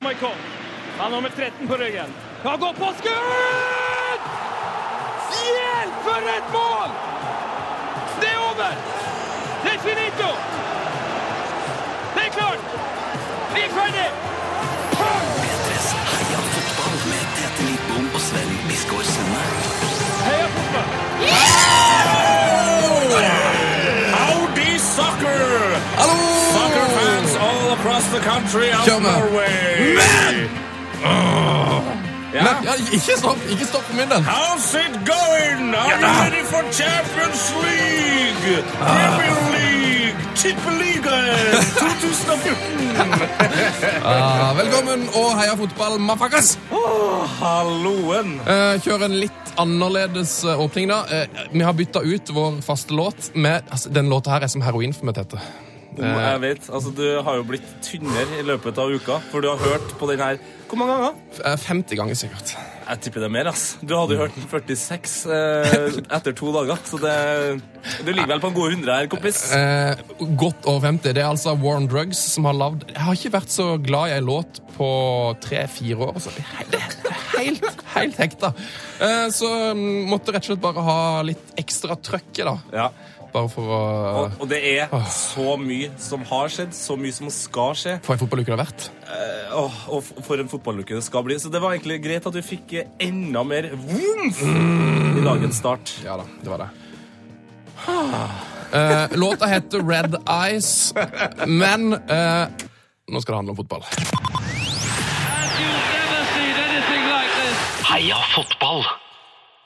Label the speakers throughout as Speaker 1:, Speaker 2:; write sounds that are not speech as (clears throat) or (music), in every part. Speaker 1: Michael. Han har nummer 13 på ryggen. Han går på skudd! Hjelp, for et mål! Det er over! Det er finito! Det er klart! Vi er ferdig!
Speaker 2: P3s Heia fotball med Tete Lidbom og Sven Biskår Sunde.
Speaker 1: Heia fotball!
Speaker 3: Howdy, soccer!
Speaker 4: Hallo!
Speaker 3: Soccer fans all across the country of
Speaker 4: Kjør med.
Speaker 3: Norway!
Speaker 4: Men!
Speaker 3: Åh. Ja?
Speaker 4: Men, ja, ikke stopp ikke stopp for min del.
Speaker 3: How's it going? Are you
Speaker 4: da.
Speaker 3: ready for Champions League?
Speaker 4: Ah.
Speaker 3: Premier League? Tippeligaen 2014?
Speaker 4: (laughs) Ah, velkommen og heia fotball, mafakas!
Speaker 3: Halloen.
Speaker 4: Eh, kjør en litt annerledes eh, åpning, da. Eh, vi har bytta ut vår faste låt med altså, Den låta her er som heroin for meg, Tete. Eh.
Speaker 3: Jeg vet, altså Du har jo blitt tynnere i løpet av uka, for du har hørt på den her hvor mange ganger?
Speaker 4: Eh, 50 ganger, sikkert.
Speaker 3: Jeg tipper det er mer, ass. Du hadde jo hørt den 46 eh, etter to dager, så det Du ligger vel på en god hundre her, kompis.
Speaker 4: Eh, godt over 50. Det er altså Warren Drugs som har lagd Jeg har ikke vært så glad i ei låt på tre-fire år. Altså. Det er helt- det er Helt, helt hekta. Eh, så mm, måtte rett og slett bare ha litt ekstra trøkk i, da.
Speaker 3: Ja.
Speaker 4: Bare for å
Speaker 3: Og, og det er så mye som har skjedd, så mye som skal skje,
Speaker 4: For ei fotballuke det har vært.
Speaker 3: eh, åh, og f- for en fotballuke det skal bli. Så det var egentlig greit at du fikk eh, enda mer vomf i dagens start.
Speaker 4: Ja da, det var det. Eh, låta heter Red Eyes, men eh, nå skal det handle om fotball.
Speaker 2: Heia fotball!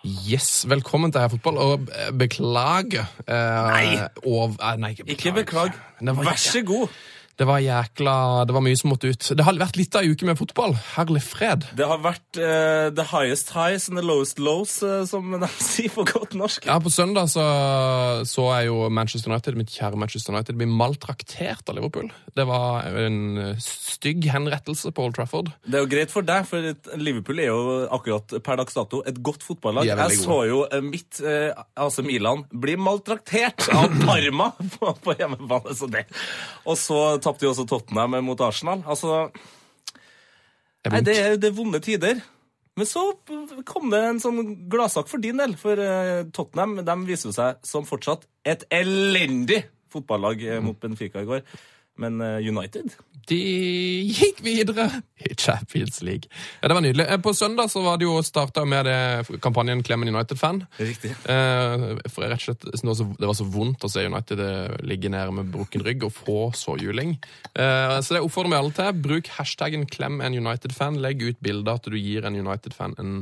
Speaker 4: Yes, velkommen til Heia fotball, og eh, beklager Nei! Og, eh, nei ikke
Speaker 3: Ikke beklag.
Speaker 4: Det var,
Speaker 3: Vær så god.
Speaker 4: det var jækla Det var mye som måtte ut. Det har vært litt av ei uke med fotball. Herlig fred.
Speaker 3: Det har vært eh, the highest highs and the lowest lows, eh, som de (laughs) sier på godt norsk.
Speaker 4: Ja, På søndag så, så jeg jo Manchester United, mitt kjære Manchester United, bli maltraktert av Liverpool. Det var en stygg henrettelse på Old Trafford.
Speaker 3: Det er jo greit for deg, for et- Liverpool er jo akkurat per dags dato et godt fotballag.
Speaker 4: De er veldig
Speaker 3: Jeg så
Speaker 4: gode.
Speaker 3: jo eh, mitt eh, AC Milan bli maltraktert
Speaker 4: (laughs)
Speaker 3: av Parma på, på hjemmebane. Så det. Og så tapte jo også Tottenham mot Arsenal. Altså,
Speaker 4: Jeg
Speaker 3: nei, det, er- det er vonde tider. Men så kom det en sånn gladsak for din del, for eh, Tottenham de viser jo seg som fortsatt et elendig fotballag eh, mot Benfica i går. Men eh, United
Speaker 4: de gikk videre i Champions League. Ja, det var nydelig. Eh, På søndag så var det jo starta med det, kampanjen Clemmen United-fan.
Speaker 3: Riktig.
Speaker 4: Eh, for rett og slett, det var, så, det var så vondt å se United eh, ligge nede med brukken rygg og få såjuling. Eh, så det oppfordrer vi alle til. Bruk hashtaggen 'klem en United-fan'. Legg ut bilder at du gir en United-fan en,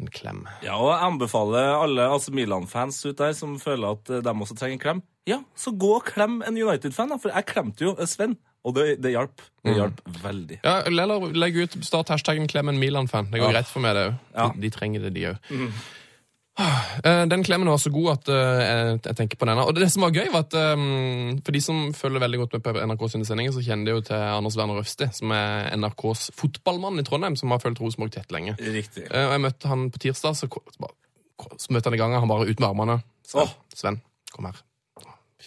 Speaker 4: en klem.
Speaker 3: Ja, og jeg anbefaler alle altså Milan-fans ut der som føler at eh, de også trenger en klem. Ja, så gå og klem en United-fan, da, for jeg klemte jo eh, Sven, og det, det hjalp. Det hjalp veldig.
Speaker 4: Ja, eller legg ut start hashtaggen 'klem en Milan-fan'. Det går greit for meg, det òg.
Speaker 3: Ja. Mhm.
Speaker 4: De, de trenger det, de òg. Den klemmen var så god at eh, jeg- jeg tenker på denne. Og det som var gøy, var at eh, for de som følger veldig godt med på NRK sine sendinger, så kjenner de jo til Anders Werner Øfsti, som er NRKs fotballmann i Trondheim, som har fulgt Rosenborg tett lenge.
Speaker 3: Riktig.
Speaker 4: Eh, Og jeg møtte han på tirsdag, så, ko- så, bare, så møtte han i gangen, han bare ut med armene. Sven,
Speaker 3: Åh.
Speaker 4: Sven kom her.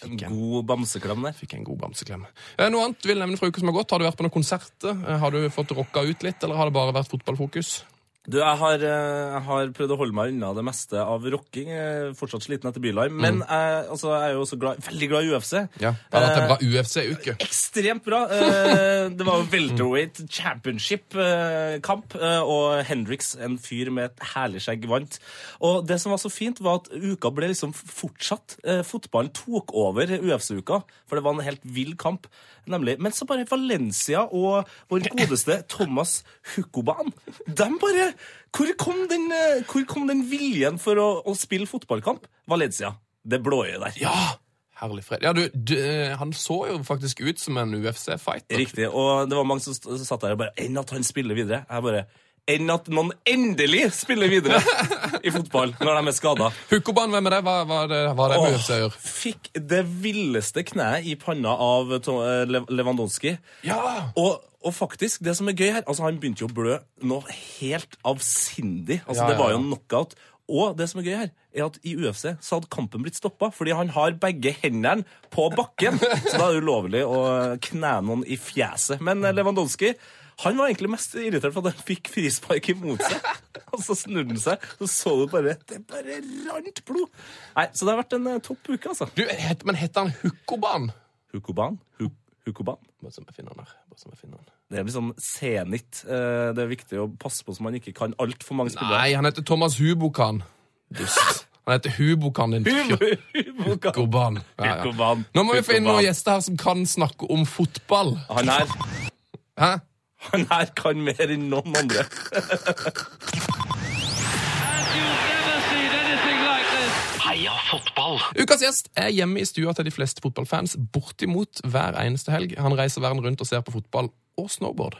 Speaker 3: En god bamseklem der.
Speaker 4: Fikk en god bamseklem. Eh, Noe annet vil nevne fra uka som har gått. Har du vært på noen konserter? Eh, Har du fått rocka ut litt, eller har det bare vært fotballfokus?
Speaker 3: Du, jeg har, eh, jeg har prøvd å holde meg unna det meste av rocking. Jeg er Fortsatt sliten etter Bylarm. Men jeg, altså, jeg er jo også glad, veldig glad i UFC.
Speaker 4: Mhm. Ja, Det har
Speaker 3: Eh,
Speaker 4: vært en bra UFC-uke.
Speaker 3: Ekstremt bra. Eh, Det var jo welterweight championship-kamp, eh, og Hendrix, en fyr med et herlig skjegg, vant. Og det som var så fint, var at uka ble liksom fortsatt. Eh, Fotballen tok over UFC-uka, for det var en helt vill kamp. Nemlig. Men så bare Valencia og vår godeste Thomas Hukoban De bare Hvor kom den, eh, hvor kom den viljen for å, å spille fotballkamp? Valencia. Det blåøyet der.
Speaker 4: Ja! Herlig fred. Ja, du, du, eh, han så jo faktisk ut som en UFC-fighter.
Speaker 3: Riktig. Og det var mange som st- som satt der og bare Enn at han spiller videre. Jeg bare Enn at noen endelig spiller videre i fotball når de er skada.
Speaker 4: Hukoban, hvem er det? Hva, hva, er det, hva er det med UFC å gjøre?
Speaker 3: Fikk det villeste kneet i panna av Tom- eh, Lev- Lewandowski.
Speaker 4: Ja!
Speaker 3: Og, og faktisk, det som er gøy her Altså, han begynte jo å blø noe helt avsindig. Altså,
Speaker 4: Ja,
Speaker 3: det
Speaker 4: ja,
Speaker 3: var
Speaker 4: ja.
Speaker 3: jo en knockout. Og det som er gøy her, er at i UFC så hadde kampen blitt stoppa fordi han har begge hendene på bakken. Så da er det ulovlig å kne noen i fjeset. Men eh, Lewandowski Han var egentlig mest irritert for at han fikk frispark imot seg. (laughs) Og så snudde han seg, så så du bare Det bare rant blod. Nei, Så det har vært en eh, topp uke, altså.
Speaker 4: Du, het, men heter han Hukkoban?
Speaker 3: Hukoban. Hu- Hukoban.
Speaker 4: Bare så jeg finner han her. Bare så jeg finner han.
Speaker 3: Det er litt sånn senit. Eh, Det er viktig å passe på så man ikke kan altfor mange spillere.
Speaker 4: Nei, han heter Thomas Hubokan.
Speaker 3: (laughs)
Speaker 4: Dust. Han heter Hubokan, din
Speaker 3: Hum- Hukoban.
Speaker 4: Hukkoban. Ja, ja.
Speaker 3: Hukkoban.
Speaker 4: Nå må vi få inn
Speaker 3: Hukkoban.
Speaker 4: noen gjester her som kan snakke om fotball.
Speaker 3: Han her,
Speaker 4: Hæ?
Speaker 3: han her kan mer enn noen andre.
Speaker 5: You've never seen anything like this.
Speaker 2: Heia fotball!
Speaker 4: Ukas gjest er hjemme i stua til de fleste fotballfans bortimot hver eneste helg. Han reiser verden rundt og ser på fotball og snowboard.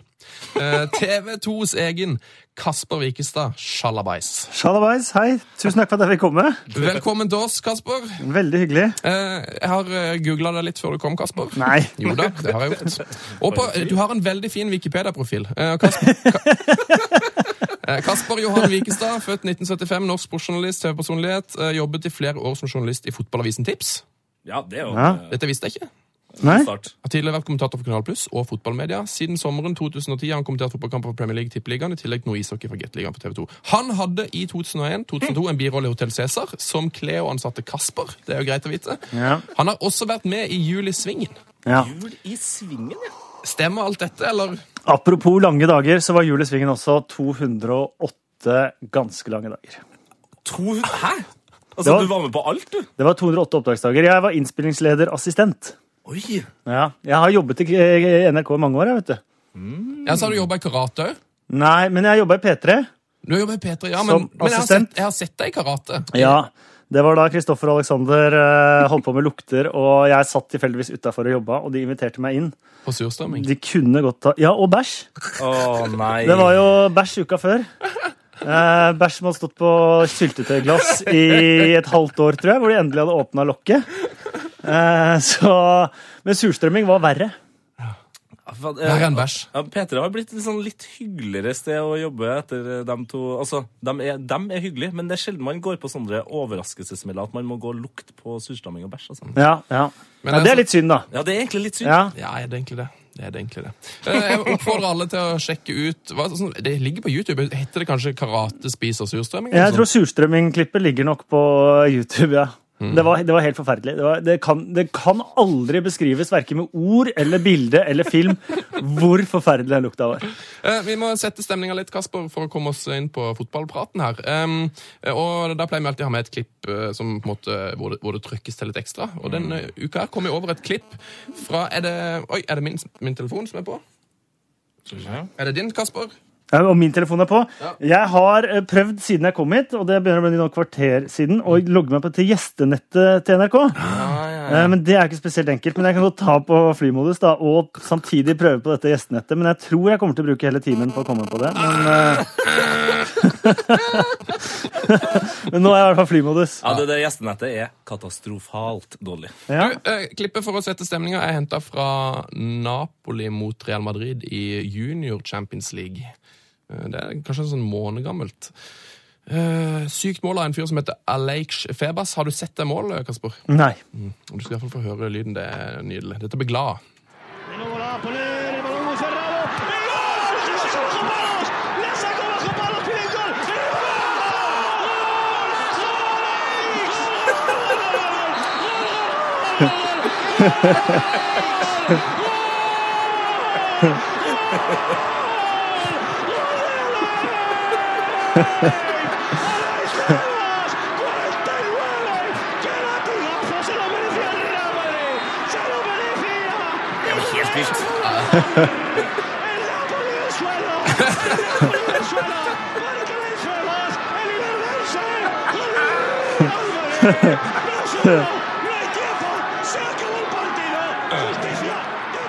Speaker 4: Eh, TV2s egen Kasper Wikestad, sjalabais.
Speaker 6: Shalabais, hei. Tusen takk for at jeg fikk komme.
Speaker 4: Velkommen til oss, Kasper.
Speaker 6: Veldig hyggelig.
Speaker 4: Eh, jeg har uh, googla deg litt før du kom, Kasper.
Speaker 6: Nei.
Speaker 4: Jo da, det har jeg gjort. Og på, du har en veldig fin Wikipedia-profil. Eh, Kasper, Ka- (laughs) Eh, Kasper Johan Wikestad, født 1975, norsk sportsjournalist, TV-personlighet. eh, jobbet i flere år som journalist i fotballavisen Tips.
Speaker 3: Ja, det er jo
Speaker 6: Ja.
Speaker 3: en
Speaker 4: Dette visste jeg ikke.
Speaker 6: Nei?
Speaker 3: eh, start.
Speaker 4: Har tidligere vært kommentator for Kanal Pluss og fotballmedia. Siden sommeren 2010 har han kommentert fotballkamper for Premier League, Tippeligaen, i tillegg til noe ishockey for Gateligaen på TV 2. Han hadde i 2001-2002 en birolle i Hotell Cæsar som Cleo-ansatte Kasper. Det er jo greit å vite.
Speaker 6: Ja.
Speaker 4: Han har også vært med i Jul i Svingen.
Speaker 6: ja.
Speaker 3: Jul i svingen, ja.
Speaker 4: Stemmer alt dette, eller?
Speaker 6: Apropos lange dager, så var Jul i Svingen også 208 ganske lange dager.
Speaker 3: To, hæ? Altså,
Speaker 6: Det var-
Speaker 3: du var med på alt, du?
Speaker 6: Det var 208 oppdragsdager. Jeg var innspillingsleder-assistent.
Speaker 3: Oi!
Speaker 6: Ja. Jeg har jobbet i eh, NRK i mange år, jeg, vet du.
Speaker 4: Ja, så har du jobba i karate òg.
Speaker 6: Nei, men jeg jobba i P3.
Speaker 4: Du har jobba i P3, ja, men,
Speaker 6: Som
Speaker 4: men jeg, har
Speaker 6: assistent.
Speaker 4: sett, jeg har sett deg i karate.
Speaker 6: Ja. Det var da Kristoffer og Alexander eh, holdt på med lukter, og jeg satt tilfeldigvis utafor og jobba, og de inviterte meg inn.
Speaker 4: På surstrømming.
Speaker 6: De kunne godt ta Ja, og bæsj!
Speaker 3: Å nei.
Speaker 6: Det var jo bæsj uka før. Eh, bæsj som hadde stått på syltetøyglass i et halvt år, tror jeg, hvor de endelig hadde åpna lokket. Eh, så, men surstrømming var verre.
Speaker 4: Verre enn bæsj.
Speaker 3: eh, Ja, P3 har blitt et sånn litt hyggeligere sted å jobbe etter eh, dem to. Altså, dem er, dem er hyggelige, men det er sjelden man går på sånne overraskelsesmeller at man må gå og lukte på surstamming og bæsj. Altså.
Speaker 6: Ja, ja.
Speaker 4: Men
Speaker 6: ja,
Speaker 4: altså-
Speaker 6: det er litt synd, da.
Speaker 3: Ja, det er egentlig litt synd.
Speaker 6: Ja.
Speaker 4: Ja, er det egentlig det? Det er det egentlig det. (laughs) Eh, Jeg oppfordrer alle til å sjekke ut hva, sånn, Det ligger på YouTube. Heter det kanskje Karate spiser surstrømming? eller
Speaker 6: Jeg tror
Speaker 4: sånn?
Speaker 6: surstrømmingklippet ligger nok på YouTube, ja. Det var, det var helt forferdelig. Det, var, det, kan, det kan aldri beskrives, verken med ord eller bilde eller film, hvor forferdelig den lukta var.
Speaker 4: Eh, Vi må sette stemninga litt, Kasper, for å komme oss inn på fotballpraten her. Em, eh, og Da pleier vi alltid å ha med et klipp eh, som på en måte, hvor, det, hvor det trykkes til litt ekstra. Og denne
Speaker 6: Mm.
Speaker 4: uka her kom jeg over et klipp fra Er det, oi, er det min, min telefon som er på? Er det din, Kasper?
Speaker 6: Ja, Og min telefon er på. Jeg har eh, prøvd siden jeg kom hit, og det begynner å bli noen kvarter siden, å logge meg på til gjestenettet til NRK. Eh, Men det er ikke spesielt enkelt. Men jeg kan godt ta på flymodus da, og samtidig prøve på dette gjestenettet. Men jeg tror jeg kommer til å bruke hele timen på å komme på det. Men, eh, (laughs) men nå er jeg i hvert fall flymodus.
Speaker 3: Ja, det, det Gjestenettet er katastrofalt dårlig.
Speaker 6: Ja.
Speaker 4: Eh, klippet for å sette stemninga er henta fra Napoli mot Real Madrid i Junior Champions League. Eh, det er kanskje en sånn måned gammelt. Eh, sykt mål av en fyr som heter Alex Febas. Har du sett det målet, Kasper?
Speaker 6: Nei.
Speaker 4: Du skal iallfall få høre lyden. Det er nydelig. Dette blir glad.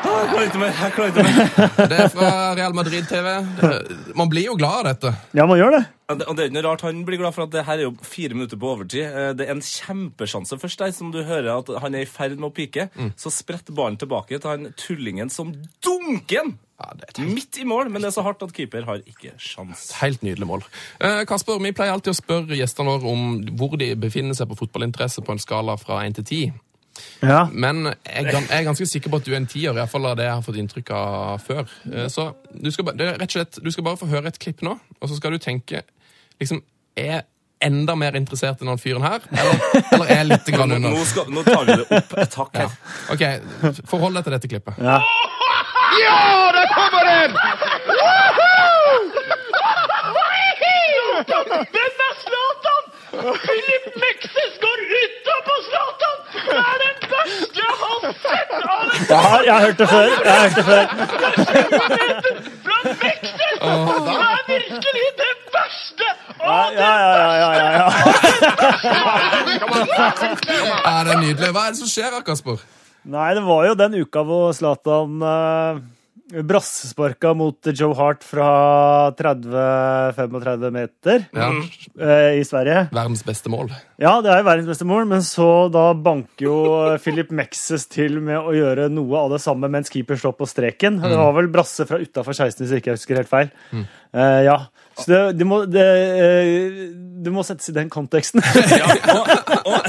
Speaker 3: Jeg klarer ikke mer! jeg klarer ikke mer.
Speaker 4: Det er fra Real Madrid TV. Det- Man blir jo glad av dette.
Speaker 6: Ja, man gjør det.
Speaker 3: Ja, det- Og det er ikke noe rart han blir glad for at det her er jo fire minutter på overtid. Eh, Det er en kjempesjanse først der, som du hører at han er i ferd med å pike.
Speaker 4: Mm.
Speaker 3: Så spretter ballen tilbake til han tullingen som dunker den!
Speaker 4: Ja, det er et helt-
Speaker 3: Midt i mål, men det er så hardt at keeper har ikke sjans.
Speaker 4: Helt nydelig mål. Eh, Kasper, vi pleier alltid å spørre gjestene våre om hvor de befinner seg på fotballinteresse på en skala fra 1 til 10.
Speaker 6: Ja.
Speaker 4: Men jeg, er gan- jeg er ganske sikker på at du er en tier, iallfall av det jeg har fått inntrykk av før. Eh, Så du skal, ba- det er rett og slett, du skal bare få høre et klipp nå, og så skal du tenke liksom, Er jeg enda mer interessert enn han fyren her? Eller, eller er jeg litt grann
Speaker 3: Nå,
Speaker 4: under?
Speaker 3: nå, skal, nå tar vi det opp et hakk her.
Speaker 4: Ok, Forhold deg til dette klippet.
Speaker 5: Ja, der kommer den! Hvem er Zlatan? Philip Mekses går utover på Zlatan! Det er den verste jeg har sett av en
Speaker 6: Jeg har, jeg har hørt det før. Jeg har hørt det før.
Speaker 5: fra Mekses! Det er virkelig det verste!
Speaker 6: Ja, ja, ja, ja, ja, ja.
Speaker 4: Ja, det er nydelig. Hva er det som skjer her, Kasper?
Speaker 6: Nei, det var jo den uka hvor Zlatan eh, brassesparka mot Joe Hart fra 30-35 meter
Speaker 4: Ja,
Speaker 6: eh, i Sverige.
Speaker 4: Verdens beste mål.
Speaker 6: Ja, det er jo verdens beste mål, men så da banker jo eh, Philip Mexes til med å gjøre noe av det samme mens keeper står på streken. Det var vel brasse fra utafor 16, hvis jeg ikke husker helt feil. Eh, ja. Så det, det, må, det, eh, det må settes i den konteksten.
Speaker 3: Ja, og, og,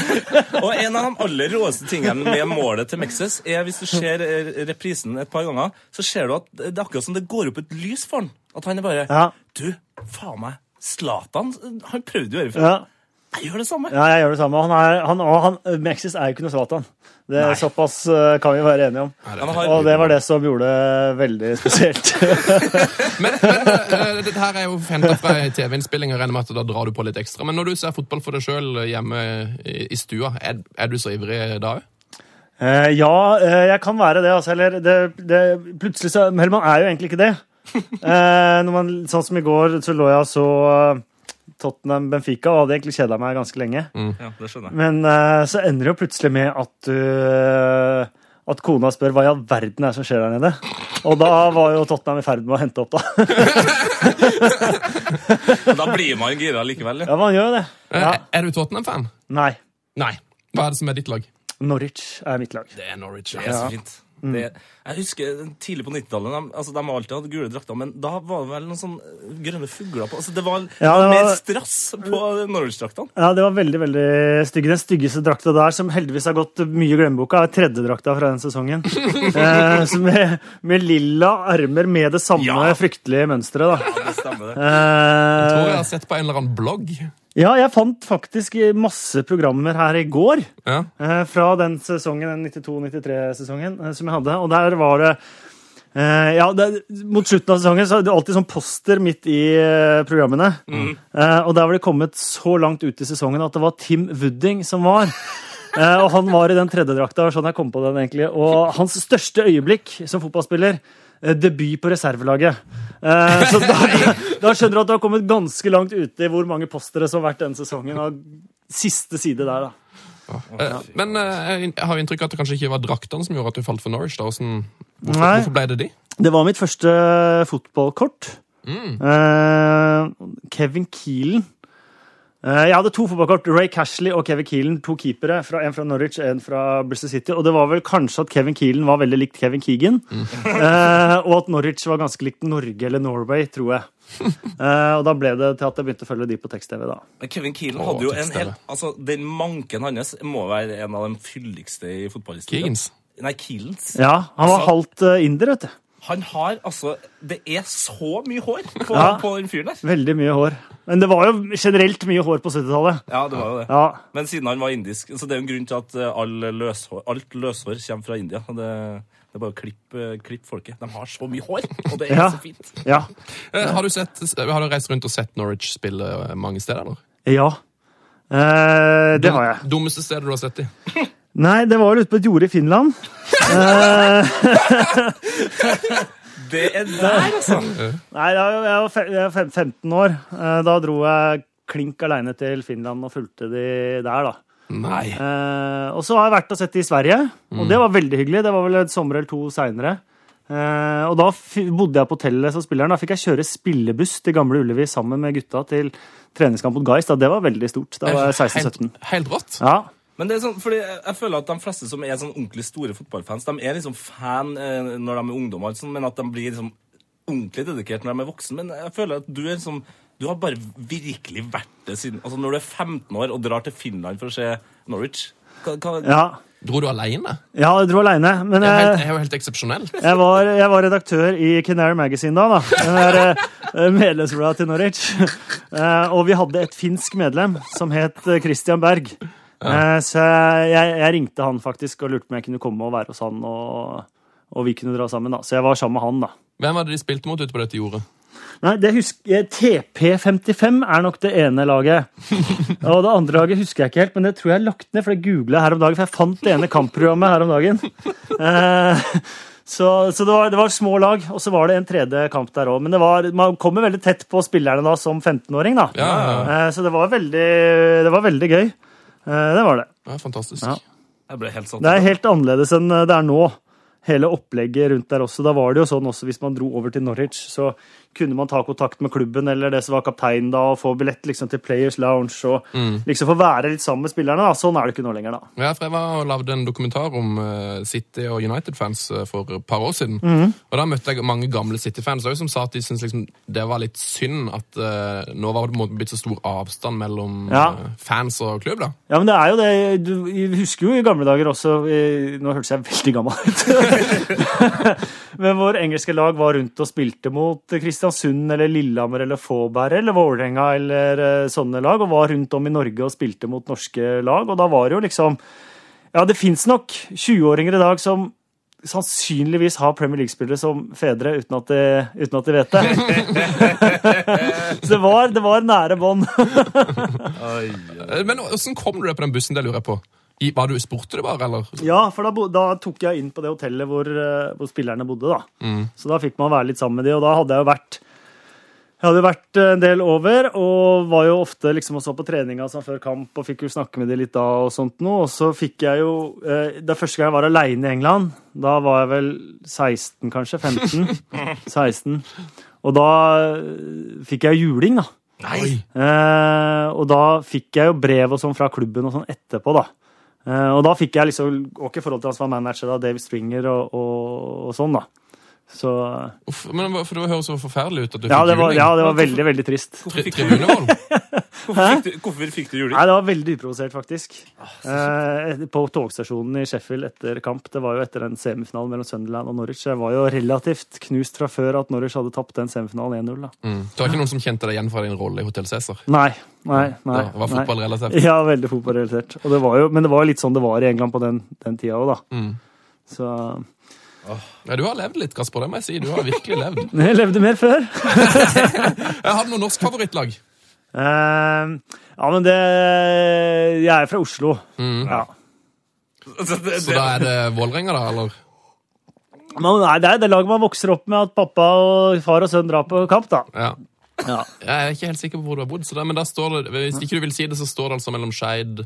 Speaker 3: og en av de aller råeste tingene med målet til Mexes er hvis du ser eh, reprisen et par ganger, så ser du at det er akkurat som det går opp et lys for han. At han er bare
Speaker 6: Ja.
Speaker 3: Du, faen meg, Zlatan han prøvde å gjøre det.
Speaker 6: ja.
Speaker 3: Jeg gjør det samme.
Speaker 6: Ja, jeg gjør det samme. Han er, han, og han, Mexis er jo ikke noe Zlatan. Det er Såpass eh, kan vi være enige om.
Speaker 3: Han har,
Speaker 6: Og det var det som gjorde det veldig spesielt. (laughs)
Speaker 4: Men, men eh, dette her er jo henta fra ei TV-innspilling, og regner med at da drar du på litt ekstra. Men når du ser fotball for deg sjøl hjemme i i stua, er, er du så ivrig da òg?
Speaker 6: Eh, ja, eh, jeg kan være det, altså. Eller det, det Plutselig så Eller man er jo egentlig ikke det. Eh, når man, sånn som i går, så lå jeg og så eh, Tottenham Benfica og hadde egentlig kjeda meg ganske lenge.
Speaker 3: ja, det skjønner jeg.
Speaker 6: Men eh, så ender det jo plutselig med at du eh, at kona spør hva i all verden er det som skjer der nede. Og da var jo Tottenham i ferd med å hente opp, da. (laughs)
Speaker 3: Men da blir man gira likevel. Ja.
Speaker 6: Ja, man gjør jo det. Ja.
Speaker 4: Eh, Er du Tottenham-fan?
Speaker 6: Nei.
Speaker 4: Nei. Hva er det som er ditt lag?
Speaker 6: Norwich er mitt lag.
Speaker 4: Det er Norwich.
Speaker 3: Det er så fint.
Speaker 6: Mm.
Speaker 3: Det, jeg husker tidlig på 90-tallet. De, altså, de har alltid hatt gule drakter, men da var det vel noen sånne grønne fugler på altså, Det var,
Speaker 6: Ja, det
Speaker 3: mer
Speaker 6: var-
Speaker 3: strass på Norwich-draktene.
Speaker 6: Ja, det var veldig, veldig stygge. Den styggeste drakta der, som heldigvis har gått mye i glemmeboka, er tredjedrakta fra den sesongen. eh, så med, med lilla armer med det samme
Speaker 3: Ja.
Speaker 6: fryktelige mønsteret, da.
Speaker 3: Det stemmer, det.
Speaker 4: Tror jeg
Speaker 6: Eh,
Speaker 4: har sett på en eller annen blogg.
Speaker 6: ja, jeg fant faktisk masse programmer her i går.
Speaker 4: Ja.
Speaker 6: eh, fra den sesongen, den 92-93-sesongen eh, som jeg hadde. Og der var det eh, ja, det, Mot slutten av sesongen så er det alltid sånn poster midt i eh, programmene. Eh, og der var det kommet så langt ut i sesongen at det var Tim Wooding som var. Eh, og han var i den tredjedrakta, sånn jeg kom på den egentlig. Og hans største øyeblikk som fotballspiller eh, Debut på reservelaget. Eh, så da, da skjønner du at du har kommet ganske langt ute i hvor mange postere som har vært denne sesongen. Og siste side der, da.
Speaker 4: Eh, Men eh, jeg har inntrykk av at det kanskje ikke var draktene som gjorde at du falt for Norwich. da. Hvordan, hvorfor,
Speaker 6: Nei.
Speaker 4: hvorfor ble det de?
Speaker 6: Det var mitt første fotballkort. Eh, Kevin Keelan. Eh, jeg hadde to fotballkort, Ray Cashley og Kevin Keelan. To keepere, fra, en fra Norwich en fra Bristol City. Og det var vel kanskje at Kevin Keelan var veldig likt Kevin Keegan. (laughs) Eh, og at Norwich var ganske likt Norge eller Norway, tror jeg. Eh, og da ble det til at jeg begynte å følge de på tekst-TV, da.
Speaker 3: Men Kevin Keelan
Speaker 4: Å,
Speaker 3: hadde jo en
Speaker 4: tekststemme.
Speaker 3: helt Altså, den manken hans må være en av de fyldigste i fotballhistorien.
Speaker 4: Keegans.
Speaker 3: Nei, Keelans.
Speaker 6: Ja, Han var halvt eh, inder, vet du.
Speaker 3: Han har altså Det er så mye hår på,
Speaker 6: Ja.
Speaker 3: på den fyren der.
Speaker 6: Veldig mye hår. Men det var jo generelt mye hår på 70-tallet.
Speaker 3: Ja, det var jo det.
Speaker 6: Ja.
Speaker 3: Men siden han var indisk, så det er jo en grunn til at eh, all løshår, alt løshår kommer fra India. og Det, det er bare å klippe, klippe folket. De har så mye hår, og det er
Speaker 6: Ja.
Speaker 3: så fint.
Speaker 6: Ja.
Speaker 4: Eh, Har, du sett, har du reist rundt og sett Norwich spille eh, mange steder? eller?
Speaker 6: ja. Eh, det har jeg.
Speaker 4: Dummeste stedet du har sett de?
Speaker 6: Nei, det var vel ute på et jorde i Finland.
Speaker 3: Det er der, altså!
Speaker 6: Nei, jeg var- jeg var fe- jeg var fem- 15 år. Eh, Da dro jeg klink aleine til Finland og fulgte de der, da.
Speaker 4: Nei.
Speaker 6: Eh, Og så har jeg vært og sett de i Sverige, og det var veldig hyggelig. Det var vel et sommer eller to seinere. Eh, Og da f- bodde jeg på hotellet som spilleren. Da fikk jeg kjøre spillebuss til Gamle Ullevi sammen med gutta til treningskamp mot Geist. Da. Det var veldig stort. Da var jeg
Speaker 4: Helt,
Speaker 6: 16-17.
Speaker 4: helt rått.
Speaker 6: Ja.
Speaker 3: Men det er sånn, fordi jeg jeg føler at de fleste som er sånn ordentlig store fotballfans, de er liksom fan eh, når de er ungdommer, og alt sånt, men at de blir liksom ordentlig dedikert når de er voksne. Men jeg føler at du er liksom Du har bare virkelig vært det siden Altså, når du er 15 år og drar til Finland for å se Norwich Hva, hva,
Speaker 6: Ja,
Speaker 4: Dro du aleine?
Speaker 6: ja jeg dro aleine. Men eh,
Speaker 4: Det er jo helt-
Speaker 6: jeg,
Speaker 4: det er jo helt eksepsjonelt.
Speaker 6: jeg, var, jeg var redaktør i Canary Magazine da. da. Den der eh, medlemsbladet til Norwich. Eh, Og vi hadde et finsk medlem som het eh, Christian Berg. Eh, Så jeg, jeg ringte han faktisk og lurte på om jeg kunne komme og være hos han, og, og vi kunne dra sammen. da. Så jeg var sammen med han, da.
Speaker 4: Hvem hadde de spilt mot ute på dette jordet?
Speaker 6: Nei, det husker jeg, TP55 er nok det ene laget.
Speaker 4: (laughs)
Speaker 6: Og det andre laget husker jeg ikke helt, men det tror jeg er lagt ned, for det googla jeg her om dagen. For jeg fant det ene kampprogrammet her om
Speaker 4: (laughs)
Speaker 6: dagen. Eh, så så det, var, det var små lag, og så var det en tredje kamp der òg. Men det var, man kommer veldig tett på spillerne da som 15-åring, da.
Speaker 4: Ja, ja, ja.
Speaker 6: Eh, så det var veldig, det var veldig gøy. Eh, det var det.
Speaker 4: ja fantastisk.
Speaker 6: Ja.
Speaker 3: jeg ble helt satt
Speaker 6: Det er helt annerledes enn eh, det er nå. Hele opplegget rundt der også. Da var det jo sånn også hvis man dro over til Norwich, så kunne man ta kontakt med klubben eller det som var kapteinen da, og få billett liksom til Players Lounge og liksom få være litt sammen med spillerne. da. Sånn er det ikke nå lenger, da.
Speaker 4: Ja, for Jeg var og lagde en dokumentar om eh, City og United-fans eh, for et par år siden.
Speaker 6: Mhm.
Speaker 4: Og Da møtte jeg mange gamle City-fans også, som sa at de syntes liksom, det var litt synd at eh, nå var det på en måte blitt så stor avstand mellom
Speaker 6: Ja.
Speaker 4: eh, fans og klubb. da.
Speaker 6: Ja, men det er jo det Du vi husker jo i gamle dager også eh, Nå hørtes jeg veldig gammel ut. (laughs) men vår engelske lag var rundt og spilte mot Kristiansund eller Lillehammer eller Fåberg eller Vålerenga eller eh, sånne lag, og var rundt om i Norge og spilte mot norske lag. Og da var det jo liksom Ja, det fins nok 20-åringer i dag som sannsynligvis har Premier League-spillere som fedre uten at de, uten at de vet det. Så det (laughs) var, det var nære bånd.
Speaker 4: Eh, Men Hvordan kom du deg på den bussen? det lurer jeg på? I, var du Spurte du bare, eller?
Speaker 6: (laughs) Ja, for da, bo- da tok jeg inn på det hotellet hvor, eh, hvor spillerne bodde, da. Så da fikk man være litt sammen med de, og da hadde jeg jo vært jeg hadde jo vært eh, en del over, og var jo ofte liksom og så på treninga sånn før kamp, og fikk jo snakke med de litt da og sånt noe. Og så fikk jeg jo eh, Det er første gang jeg var aleine i England. Da var jeg vel 16, kanskje? 15? 16. Og da eh, fikk jeg juling, da.
Speaker 4: Nei!
Speaker 6: Eh, og da fikk jeg jo brev og sånn fra klubben og sånn etterpå, da. Eh, og da fikk jeg liksom Og ikke i forhold til han som var manager, da, Dave Stringer og, og, og sånn, da. Så
Speaker 4: Uff, men hva- for Det høres så forferdelig ut at du
Speaker 6: ja det,
Speaker 4: fikk
Speaker 6: var,
Speaker 4: juling.
Speaker 6: ja, det var veldig, veldig trist.
Speaker 4: Tri tribunevold?
Speaker 6: (laughs)
Speaker 3: Hvorfor fikk du, hvorfor fikk du juling?
Speaker 6: Nei, det var veldig uprovosert, faktisk.
Speaker 4: Ah,
Speaker 6: Eh, på togstasjonen i Sheffield etter kamp. Det var jo etter en semifinale mellom Sunderland og Norwich. Jeg var jo relativt knust fra før at Norwich hadde tapt den semifinalen 1-0, da.
Speaker 4: Mm. Det var ikke noen som kjente deg igjen fra din rolle i Hotell Cæsar?
Speaker 6: Nei, nei, nei.
Speaker 4: Det var
Speaker 6: nei.
Speaker 4: fotballrelatert.
Speaker 6: Ja, veldig fotballrelatert. Og det var jo, men det var jo litt sånn det var i England på den, den tida òg, da. Så
Speaker 4: Ja, du har levd litt, Kasper. det må jeg si. Du har virkelig levd.
Speaker 6: Men Jeg levde mer før.
Speaker 4: Jeg hadde noe norsk favorittlag.
Speaker 6: Eh, ja, men det Jeg er fra Oslo. Ja.
Speaker 3: Altså, det,
Speaker 4: Så
Speaker 3: det,
Speaker 4: da er det Vålerenga, da? eller?
Speaker 6: Men nei, det er det laget man vokser opp med at pappa og far og sønn drar på kamp, da.
Speaker 4: Ja.
Speaker 6: Ja.
Speaker 4: Jeg er ikke helt sikker på hvor du har bodd, så da, men da står det, hvis ikke du vil si det, så står det altså mellom Skeid,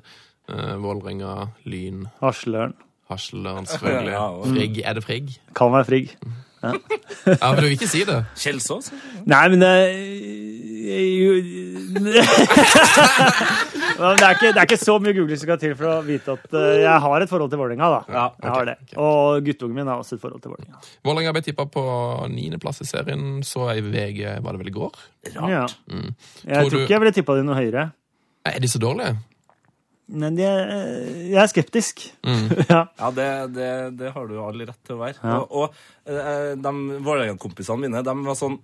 Speaker 4: eh, Vålerenga, Lyn,
Speaker 6: Hasleren.
Speaker 4: Hasløren, selvfølgelig.
Speaker 3: Ja, og-
Speaker 4: Frigg. Er det Frigg?
Speaker 6: Kan være frigg.
Speaker 4: Ja, men du vil ikke si det.
Speaker 3: Kjelsås?
Speaker 6: Nei, men eh, det (laughs) jeg- Ja, men det, er ikke, det er ikke så mye googling som skal til for å vite at eh, jeg har et forhold til Vålerenga. da.
Speaker 3: Ja,
Speaker 6: jeg har det.
Speaker 4: ok.
Speaker 6: Og guttungen min har også et forhold til Vålerenga.
Speaker 4: Vålerenga ble tippa på niendeplass i serien, så jeg i VG var det vel i går.
Speaker 6: Ja. Jeg
Speaker 4: Mm. Tror
Speaker 6: tror,
Speaker 4: du-
Speaker 6: ikke jeg ville tippa de noe høyere.
Speaker 4: Er de så dårlige?
Speaker 6: Men jeg, eh, jeg er skeptisk.
Speaker 4: Mm.
Speaker 6: (laughs) ja.
Speaker 3: Ja, det, det, det har du all rett til å være. Og, og eh, de Vålerenga-kompisene mine de var sånn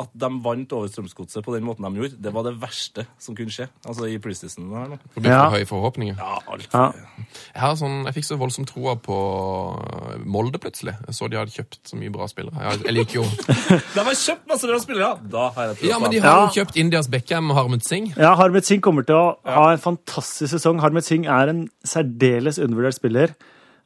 Speaker 3: at de vant over Strømsgodset på den måten de gjorde, det var det verste som kunne skje. Altså i preseason her nå.
Speaker 4: Det blir
Speaker 6: Ja.
Speaker 4: for høye forhåpninger.
Speaker 3: Ja, alt.
Speaker 6: Ja.
Speaker 4: Jeg, har sånn, jeg fikk så voldsomt troa på eh, Molde plutselig. Jeg så de hadde kjøpt så mye bra spillere. Jeg, jeg liker
Speaker 6: (laughs)
Speaker 4: jo
Speaker 3: De har kjøpt masse bra spillere! Da har jeg troa
Speaker 4: Ja, men de
Speaker 3: på dem.
Speaker 4: har
Speaker 6: Ja.
Speaker 4: jo kjøpt Indias Beckham og Harmet Singh.
Speaker 6: ja, Harmet Singh kommer til å ha en fantastisk sesong. Harmet Singh er en særdeles undervurdert spiller.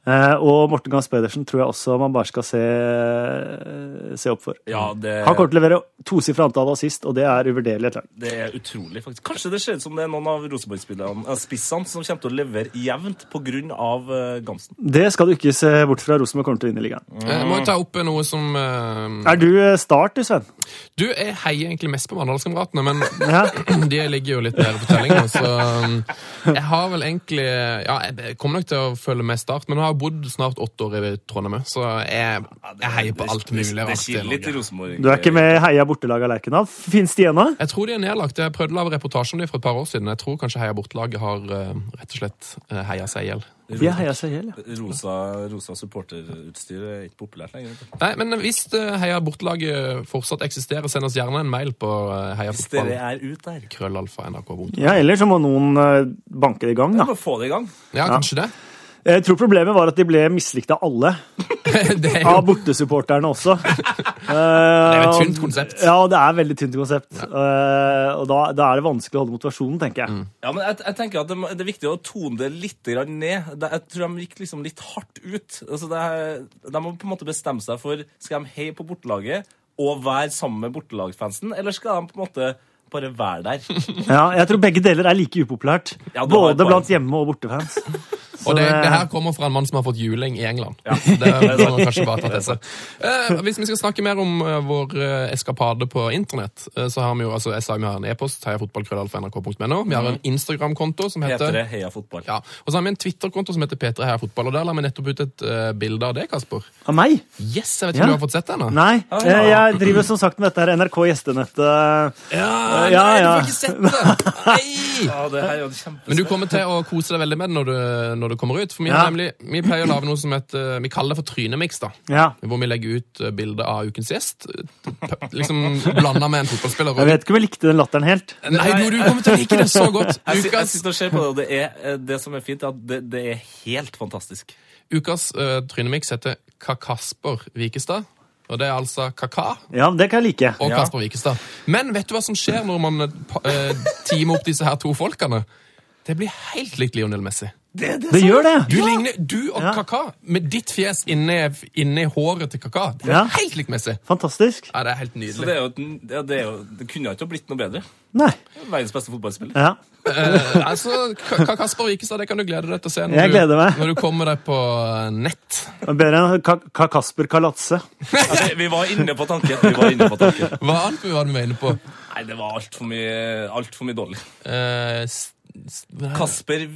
Speaker 6: Eh, og Morten Gahns Pedersen tror jeg også man bare skal se, eh, se opp for.
Speaker 3: Ja, det,
Speaker 6: Han kommer til å levere tosifra antall assist, og det er uvurderlig. et lag.
Speaker 3: det er utrolig, faktisk. Kanskje det ser ut som det er noen av Rosenborg-spillerne, eh, spissene, som kommer til å levere jevnt pga. Uh, Gamsen.
Speaker 6: Det skal du ikke se bort fra. Rosenborg kommer til å vinne ligaen.
Speaker 4: Jeg Eh, må jo ta opp noe som eh,
Speaker 6: Er du eh, Start, du, Sven?
Speaker 4: Du, jeg heier egentlig mest på Mandalskameratene, men (clears throat)
Speaker 6: Ja.
Speaker 4: de ligger jo litt bedre eh, på tellinga, så um, jeg har vel egentlig Ja, jeg kommer nok til å følge med Start, men jeg har har bodd snart åtte år i Trondheim, så jeg, jeg heier på alt mulig.
Speaker 3: Det, det
Speaker 4: rart i
Speaker 3: kiler litt i
Speaker 4: Norge.
Speaker 3: Rosenborg.
Speaker 6: Du er ikke med i Heia bortelaget Lerkendal? Fins de ennå?
Speaker 4: Jeg tror de er nedlagt. Jeg prøvde å lage reportasje om dem for et par år siden. Jeg tror kanskje Heia Bortelaget har eh, rett og slett eh, heia seg i hjel.
Speaker 6: De er Heia seg i hjel, ja.
Speaker 3: Rosa, rosa supporterutstyr er ikke populært lenger. vet du.
Speaker 4: Nei, men hvis eh, Heia Bortelaget fortsatt eksisterer, send oss gjerne en mail på eh,
Speaker 3: Hvis dere er ute der.
Speaker 4: heiafotball.krøllalfa.nrk.no.
Speaker 6: ja. Eller så må noen eh, banke det i gang,
Speaker 3: Vi
Speaker 6: da.
Speaker 3: må få det i gang.
Speaker 4: Ja, kanskje det.
Speaker 6: Jeg tror problemet var at de ble mislikt av alle.
Speaker 4: (laughs) det er jo
Speaker 6: Av bortesupporterne
Speaker 4: (laughs)
Speaker 6: også.
Speaker 4: det er jo
Speaker 6: Eh,
Speaker 4: et tynt konsept.
Speaker 6: Ja, det er veldig tynt konsept. Eh, og da, da er det vanskelig å holde motivasjonen, tenker
Speaker 4: Mm.
Speaker 6: jeg.
Speaker 3: Ja, men jeg, jeg tenker at det, må- det er viktig å tone det litt grann ned. Det, jeg tror de gikk liksom litt hardt ut. Altså det, er- de må på en måte bestemme seg for skal de heie på bortelaget og være sammen med bortelagsfansen, eller skal de på en måte bare være der?
Speaker 6: Ja, jeg tror begge deler er like upopulært.
Speaker 3: Ja, du har et
Speaker 6: Både
Speaker 3: poeng.
Speaker 6: blant hjemme- og bortefans.
Speaker 4: (laughs)
Speaker 6: Så
Speaker 4: Og det,
Speaker 6: det-
Speaker 4: det her kommer fra en mann som har fått juling i England. (laughs) Det må man kanskje bare ta til seg. Eh, hvis vi skal snakke mer om eh, vår eh, eskapade på internett, eh, så har vi jo altså, jeg sa vi har en e-post, heiafotballkrøllalfa.nrk.no. Vi har en
Speaker 6: Mm.
Speaker 4: Instagram-konto som
Speaker 3: Heter
Speaker 4: heter
Speaker 3: det Heia fotball?
Speaker 4: ja, Og så har vi en Twitter-konto som heter P3 Heia Fotball, og der la vi nettopp ut et eh, bilde av det, Kasper.
Speaker 6: eh, Av meg?
Speaker 4: Yes, jeg vet ikke
Speaker 6: Ja.
Speaker 4: om du har fått sett det ennå?
Speaker 6: Nei.
Speaker 3: Ah,
Speaker 6: eh,
Speaker 3: ja.
Speaker 6: Jeg driver som sagt med dette her NRK Gjestenettet.
Speaker 4: Ja, nei,
Speaker 6: Eh, ja,
Speaker 4: du
Speaker 6: ja.
Speaker 4: får ikke sett det! Nei!
Speaker 3: Ja, det her er jo kjempe...
Speaker 4: Men du kommer til å kose deg veldig med det når du, når du kommer ut. For vi, har
Speaker 6: Ja.
Speaker 4: nemlig, vi pleier å lage noe som heter Vi kaller det for Trynemiks, da.
Speaker 6: Ja.
Speaker 4: Hvor vi legger ut eh, bilder av ukens gjest. eh, p- Liksom blanda med en fotballspiller.
Speaker 6: Jeg vet ikke om jeg likte den latteren helt.
Speaker 4: Nei, du, du kommer til å like det så godt!
Speaker 3: Jeg, sit- jeg
Speaker 4: Ukas,
Speaker 3: sitter og ser på det, og det, er, eh, det som er fint, er at det, det er helt fantastisk.
Speaker 4: ukas eh, Trynemiks heter Kakasper Vikestad. Og det er altså Kaka
Speaker 6: Ja, det kan jeg like.
Speaker 4: og
Speaker 3: Ja.
Speaker 4: Kasper Vikestad. Men vet du hva som skjer når man eh, pa- eh, teamer opp disse her to folkene? Det blir helt likt Lionel Messi.
Speaker 6: Det gjør det.
Speaker 4: Du, ligner, du og
Speaker 6: Ja.
Speaker 4: Kaka, med ditt fjes inni, inni håret til Kaka, det er
Speaker 6: Ja.
Speaker 4: helt likt Messi.
Speaker 6: Fantastisk.
Speaker 4: Ja, det er helt
Speaker 3: Så
Speaker 4: nydelig.
Speaker 3: det, er jo, et- ja, det, er jo, det kunne jo ikke ha blitt noe bedre.
Speaker 6: Nei.
Speaker 3: Verdens beste fotballspiller.
Speaker 6: Ja.
Speaker 4: Eh, altså, Ka- Ka- Kasper Vikestad, det kan du glede deg til å se når,
Speaker 6: Jeg gleder meg.
Speaker 4: Du, når du kommer deg på eh, nett.
Speaker 6: Bedre enn Ka Ka Kasper Kalatse.
Speaker 3: Altså, (laughs) vi var inne på tanken. Vi var inne på tanken.
Speaker 4: Hva annet var det vi var inne på?
Speaker 3: Nei, det var altfor mye, alt for mye dårlig.
Speaker 4: Eh, s- s- hva er det?
Speaker 3: Kasper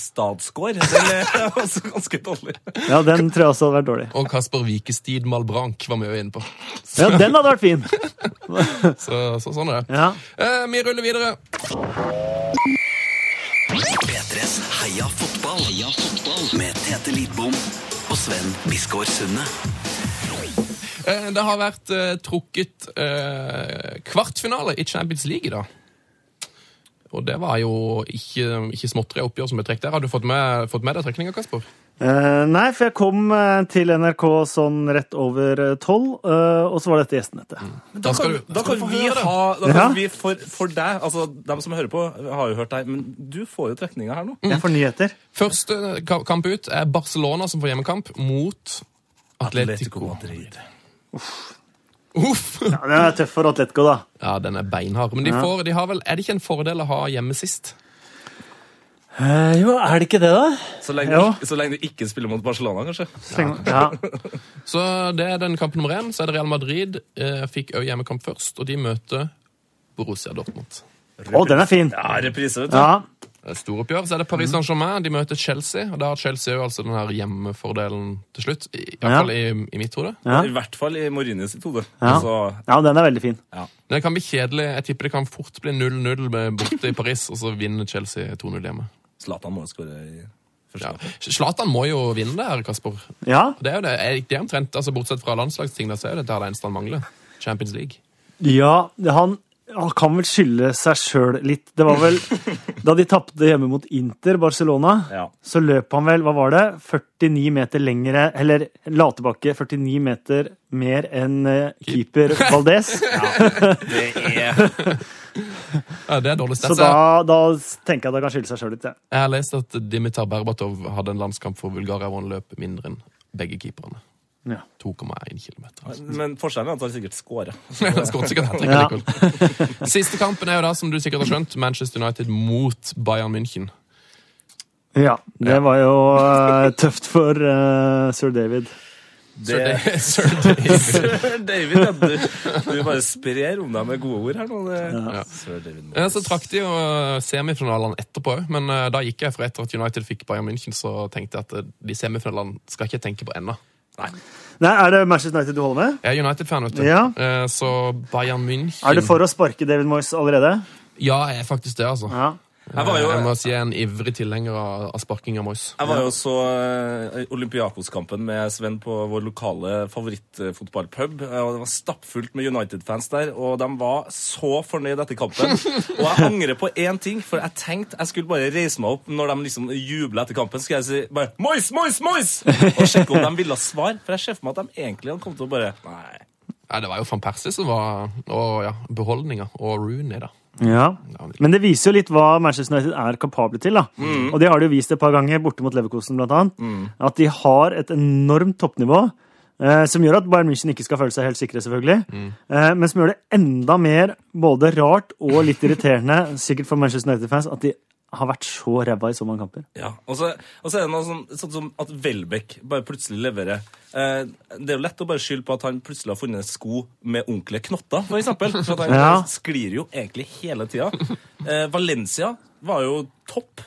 Speaker 3: Vikestadsgård. Den er også ganske dårlig.
Speaker 6: Ja, den tror jeg også hadde vært dårlig.
Speaker 4: og Kasper Vikestid Malbrank var vi jo inne på.
Speaker 6: Ja, den hadde vært fin.
Speaker 4: Så, så sånn er det.
Speaker 6: Ja.
Speaker 4: Eh, vi ruller videre.
Speaker 2: P3s Heia fotball. Heia fotball. Med Tete Lidbom og Sven Biskår Sunde.
Speaker 4: Eh, det har vært eh, trukket eh, kvartfinale i Champions League i dag. Og det var jo ikke, ikke småtteri oppgjør som ble trukket der. Har du fått med, fått med deg trekninga, Kasper?
Speaker 6: (laughs) Eh, nei, for jeg kom eh, til NRK sånn rett over eh, tolv, eh, og så var dette gjestenettet.
Speaker 4: Da skal du-
Speaker 3: Da kan
Speaker 4: skal du få
Speaker 3: vi
Speaker 4: høre det.
Speaker 3: ha da kan
Speaker 6: Ja.
Speaker 3: vi for, for deg Altså, dem som hører på, har jo hørt deg, men du får jo trekninga her nå.
Speaker 6: Jeg får nyheter.
Speaker 4: Første ka- kamp ut er Barcelona som får hjemmekamp mot Atletico.
Speaker 3: Madrid.
Speaker 4: Uff!
Speaker 6: Ja, den er tøff for Atletico, da.
Speaker 4: (laughs) Ja, den er beinhard. Men de får, de har vel, er det ikke en fordel å ha hjemme sist?
Speaker 6: Eh, jo, er det ikke det, da?
Speaker 3: Så lenge,
Speaker 6: Ja.
Speaker 3: du ikke- så lenge du ikke spiller mot Barcelona, kanskje.
Speaker 6: Sleng- Ja.
Speaker 4: Så det er den kampen nummer én. Så er det Real Madrid. Eh, fikk òg hjemmekamp først, og de møter Borussia Dortmund.
Speaker 6: Å, den er fin!
Speaker 3: Ja, reprise, vet du.
Speaker 6: Ja.
Speaker 4: Det er Storoppgjør. Så er det
Speaker 6: Mm.
Speaker 4: Paris Saint-Germain. De møter Chelsea. Og da har Chelsea jo altså den her hjemmefordelen til slutt. I, i hvert
Speaker 6: Ja.
Speaker 4: fall i, i mitt hode.
Speaker 6: Ja.
Speaker 3: I hvert fall i Mourinho sitt hode.
Speaker 6: Ja.
Speaker 3: Altså,
Speaker 6: ja, den er veldig fin.
Speaker 4: Men det kan bli kjedelig. Jeg tipper det kan fort bli 0-0 med- borte i Paris, og så vinner Chelsea 2-0 hjemme.
Speaker 3: Zlatan må jo skåre i første
Speaker 4: Ja.
Speaker 3: kamp.
Speaker 4: Zlatan må jo vinne det her, Kasper.
Speaker 6: Ja.
Speaker 4: Det er jo det. Er ikke det omtrent, altså Bortsett fra landslagsting, der, så er jo dette her det eneste han mangler. Champions League.
Speaker 6: Ja, han, han kan vel skylde seg sjøl litt. Det var vel da de tapte hjemme mot Inter Barcelona,
Speaker 3: Ja.
Speaker 6: så løp han vel, hva var det, 49 meter lengre Eller la tilbake 49 meter mer enn eh, keeper Valdez.
Speaker 3: Det er
Speaker 4: Ja, det er dårlig
Speaker 6: Så
Speaker 4: stats.
Speaker 6: da, da tenker jeg at han kan skylde seg sjøl litt. Ja.
Speaker 4: Jeg har lest at Dimitar Berbatov hadde en landskamp for Bulgaria hvor han løp mindre enn begge keeperne.
Speaker 6: Ja.
Speaker 4: 2,1 km. Altså.
Speaker 3: Men forskjellen er at han sikkert scorer.
Speaker 4: (laughs) Han skåret sikkert hat-trick
Speaker 6: Ja.
Speaker 4: likevel. Siste kampen er jo da, som du sikkert har skjønt, Manchester United mot Bayern München.
Speaker 6: Ja, det var jo eh, tøft for eh, sir David.
Speaker 3: Det,
Speaker 4: Sir David.
Speaker 3: Sir David, ja, du, du bare sprer om deg med gode ord her nå. Det. Sir David Morris.
Speaker 4: Ja, så trakk de jo eh, semifinalene etterpå òg, men eh, da gikk jeg for etter at United fikk Bayern München, så tenkte jeg at eh, de semifinalene skal ikke jeg tenke på ennå.
Speaker 6: Nei, Er det Manchester United du holder med?
Speaker 4: Jeg er United-fan, vet du.
Speaker 6: Ja.
Speaker 4: Eh, Så Bayern München
Speaker 6: Er du for å sparke David Moyes allerede?
Speaker 4: Ja, jeg er faktisk det, altså.
Speaker 6: Ja.
Speaker 3: Jeg var jo,
Speaker 4: Jeg må si jeg er en ivrig tilhenger av, av sparking av Moyes.
Speaker 3: jeg var jo så eh, Olympiakos-kampen med Sven på vår lokale favorittfotballpub. eh, og Det var stappfullt med United-fans der, og de var så fornøyd etter kampen. Og jeg angrer på én ting, for jeg tenkte jeg skulle bare reise meg opp når de liksom jubler etter kampen. Skal jeg si bare 'Mois, Mois, Mois!' og sjekke om de ville ha svar. For jeg ser for meg at de egentlig hadde kommet til å bare Nei.
Speaker 4: Nei, det var jo van Persie som var og, ja, beholdninga, og Rooney, da.
Speaker 6: Ja. Men det Mm. viser jo litt hva Manchester United er kapable til. da. Og det har de jo vist et par ganger, borte mot Leverkusen blant annet. At de har et enormt toppnivå. Eh, som gjør at Bayern München ikke skal føle seg helt sikre, selvfølgelig. Eh, men som gjør det enda mer både rart og litt irriterende, sikkert for Manchester United-fans, at de har vært så ræva i så mange kamper.
Speaker 3: Ja, og så, og så er det noe sånn, sånn som at Welbeck bare plutselig leverer. Eh, det er jo lett å bare skylde på at han plutselig har funnet sko med onkle Knotta, for eksempel. For at han
Speaker 6: Ja.
Speaker 3: sklir jo egentlig hele tida. Eh, Valencia var jo topp.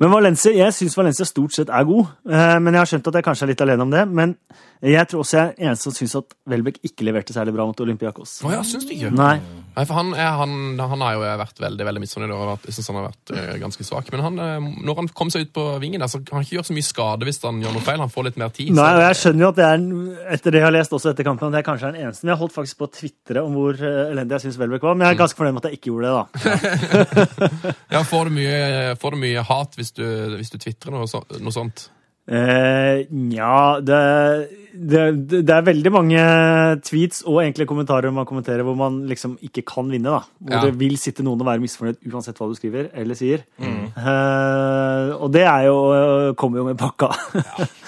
Speaker 6: Men Valencia, jeg syns Valencia stort sett er god. Eh, men jeg har skjønt at jeg kanskje er litt alene om det. Men jeg tror også jeg er eneste som syns at Welbeck ikke leverte særlig bra mot Olympiakos.
Speaker 4: Å ja, syns du ikke?
Speaker 6: Nei.
Speaker 4: Nei, for han, er, han, han har jo vært veldig veldig misfornøyd. og vært- Jeg synes han har vært eh, ganske svak. Men han, eh, når han kom seg ut på vingen, der, så kan han ikke gjøre så mye skade hvis han gjør noe feil. Han får litt mer tid.
Speaker 6: Nei, og
Speaker 4: så,
Speaker 6: jeg skjønner jo at det er, en- etter det jeg har lest også etter kampen, at jeg kanskje er den eneste. Men jeg holdt faktisk på å tvitre om hvor eh, elendig jeg syns Welbeck var. Men jeg er ganske fornøyd med at jeg ikke gjorde det,
Speaker 4: (laughs)
Speaker 6: da.
Speaker 4: ja, får, du mye, får du mye hat hvis du, hvis du tvitrer noe, så- noe sånt?
Speaker 6: Eh, Nja, det, det, det er veldig mange tweets og enkle kommentarer man kommenterer hvor man liksom ikke kan vinne, da. Hvor
Speaker 4: Ja.
Speaker 6: det vil sitte noen og være misfornøyd uansett hva du skriver eller sier.
Speaker 4: Mm.
Speaker 6: Eh, og det er jo eh, Kommer jo med pakka. (laughs)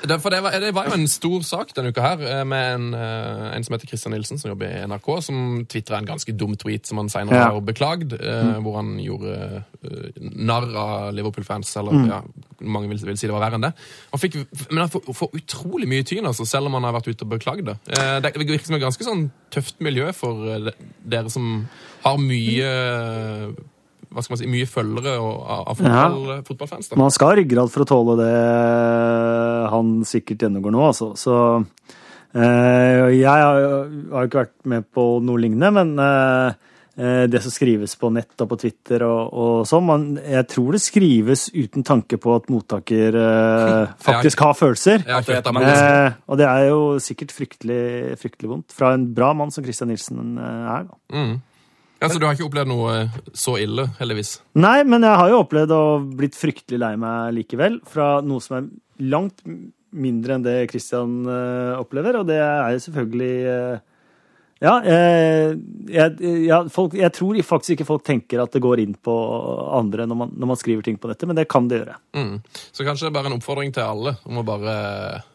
Speaker 4: Det, for det var, det var jo en stor sak denne uka her, eh, med en, eh, en som heter Christian Nilsen, som jobber i NRK, som tvitra en ganske dum tweet som han senere
Speaker 6: Ja. Mm.
Speaker 4: har beklagd, eh, hvor han gjorde eh, narr av Liverpool-fans, eller
Speaker 6: Mm.
Speaker 4: ja, mange vil, vil si det var verre enn det. Han fikk, men han får, får utrolig mye tyn, altså, selv om han har vært ute og beklagd det. Eh, det virker som et ganske sånn tøft miljø for eh, de- dere som har mye hva skal man si, mye følgere og, av, av fotball, eh, fotballfans. da.
Speaker 6: Man skal ha ryggrad for å tåle det han sikkert gjennomgår nå, altså. Så eh, jeg har har jo ikke vært med på noe lignende, men eh, eh, det som skrives på nett og på Twitter og, og sånn man, Jeg tror det skrives uten tanke på at mottaker eh, faktisk har følelser.
Speaker 4: Jeg har ikke hørt om det.
Speaker 6: Eh, og det er jo sikkert fryktelig, fryktelig vondt fra en bra mann som Christian Nilsen eh, er. da.
Speaker 4: Ja, så du har ikke opplevd noe eh, så ille, heldigvis?
Speaker 6: Nei, men jeg har jo opplevd å blitt fryktelig lei meg likevel, fra noe som er langt mindre enn det Christian eh, opplever, og det er jo selvfølgelig eh, ja, eh, jeg, ja folk, jeg tror faktisk ikke folk tenker at det går inn på andre når man, når man skriver ting på nettet, men det kan det gjøre.
Speaker 4: Mm. Så kanskje det er bare en oppfordring til alle om å bare eh,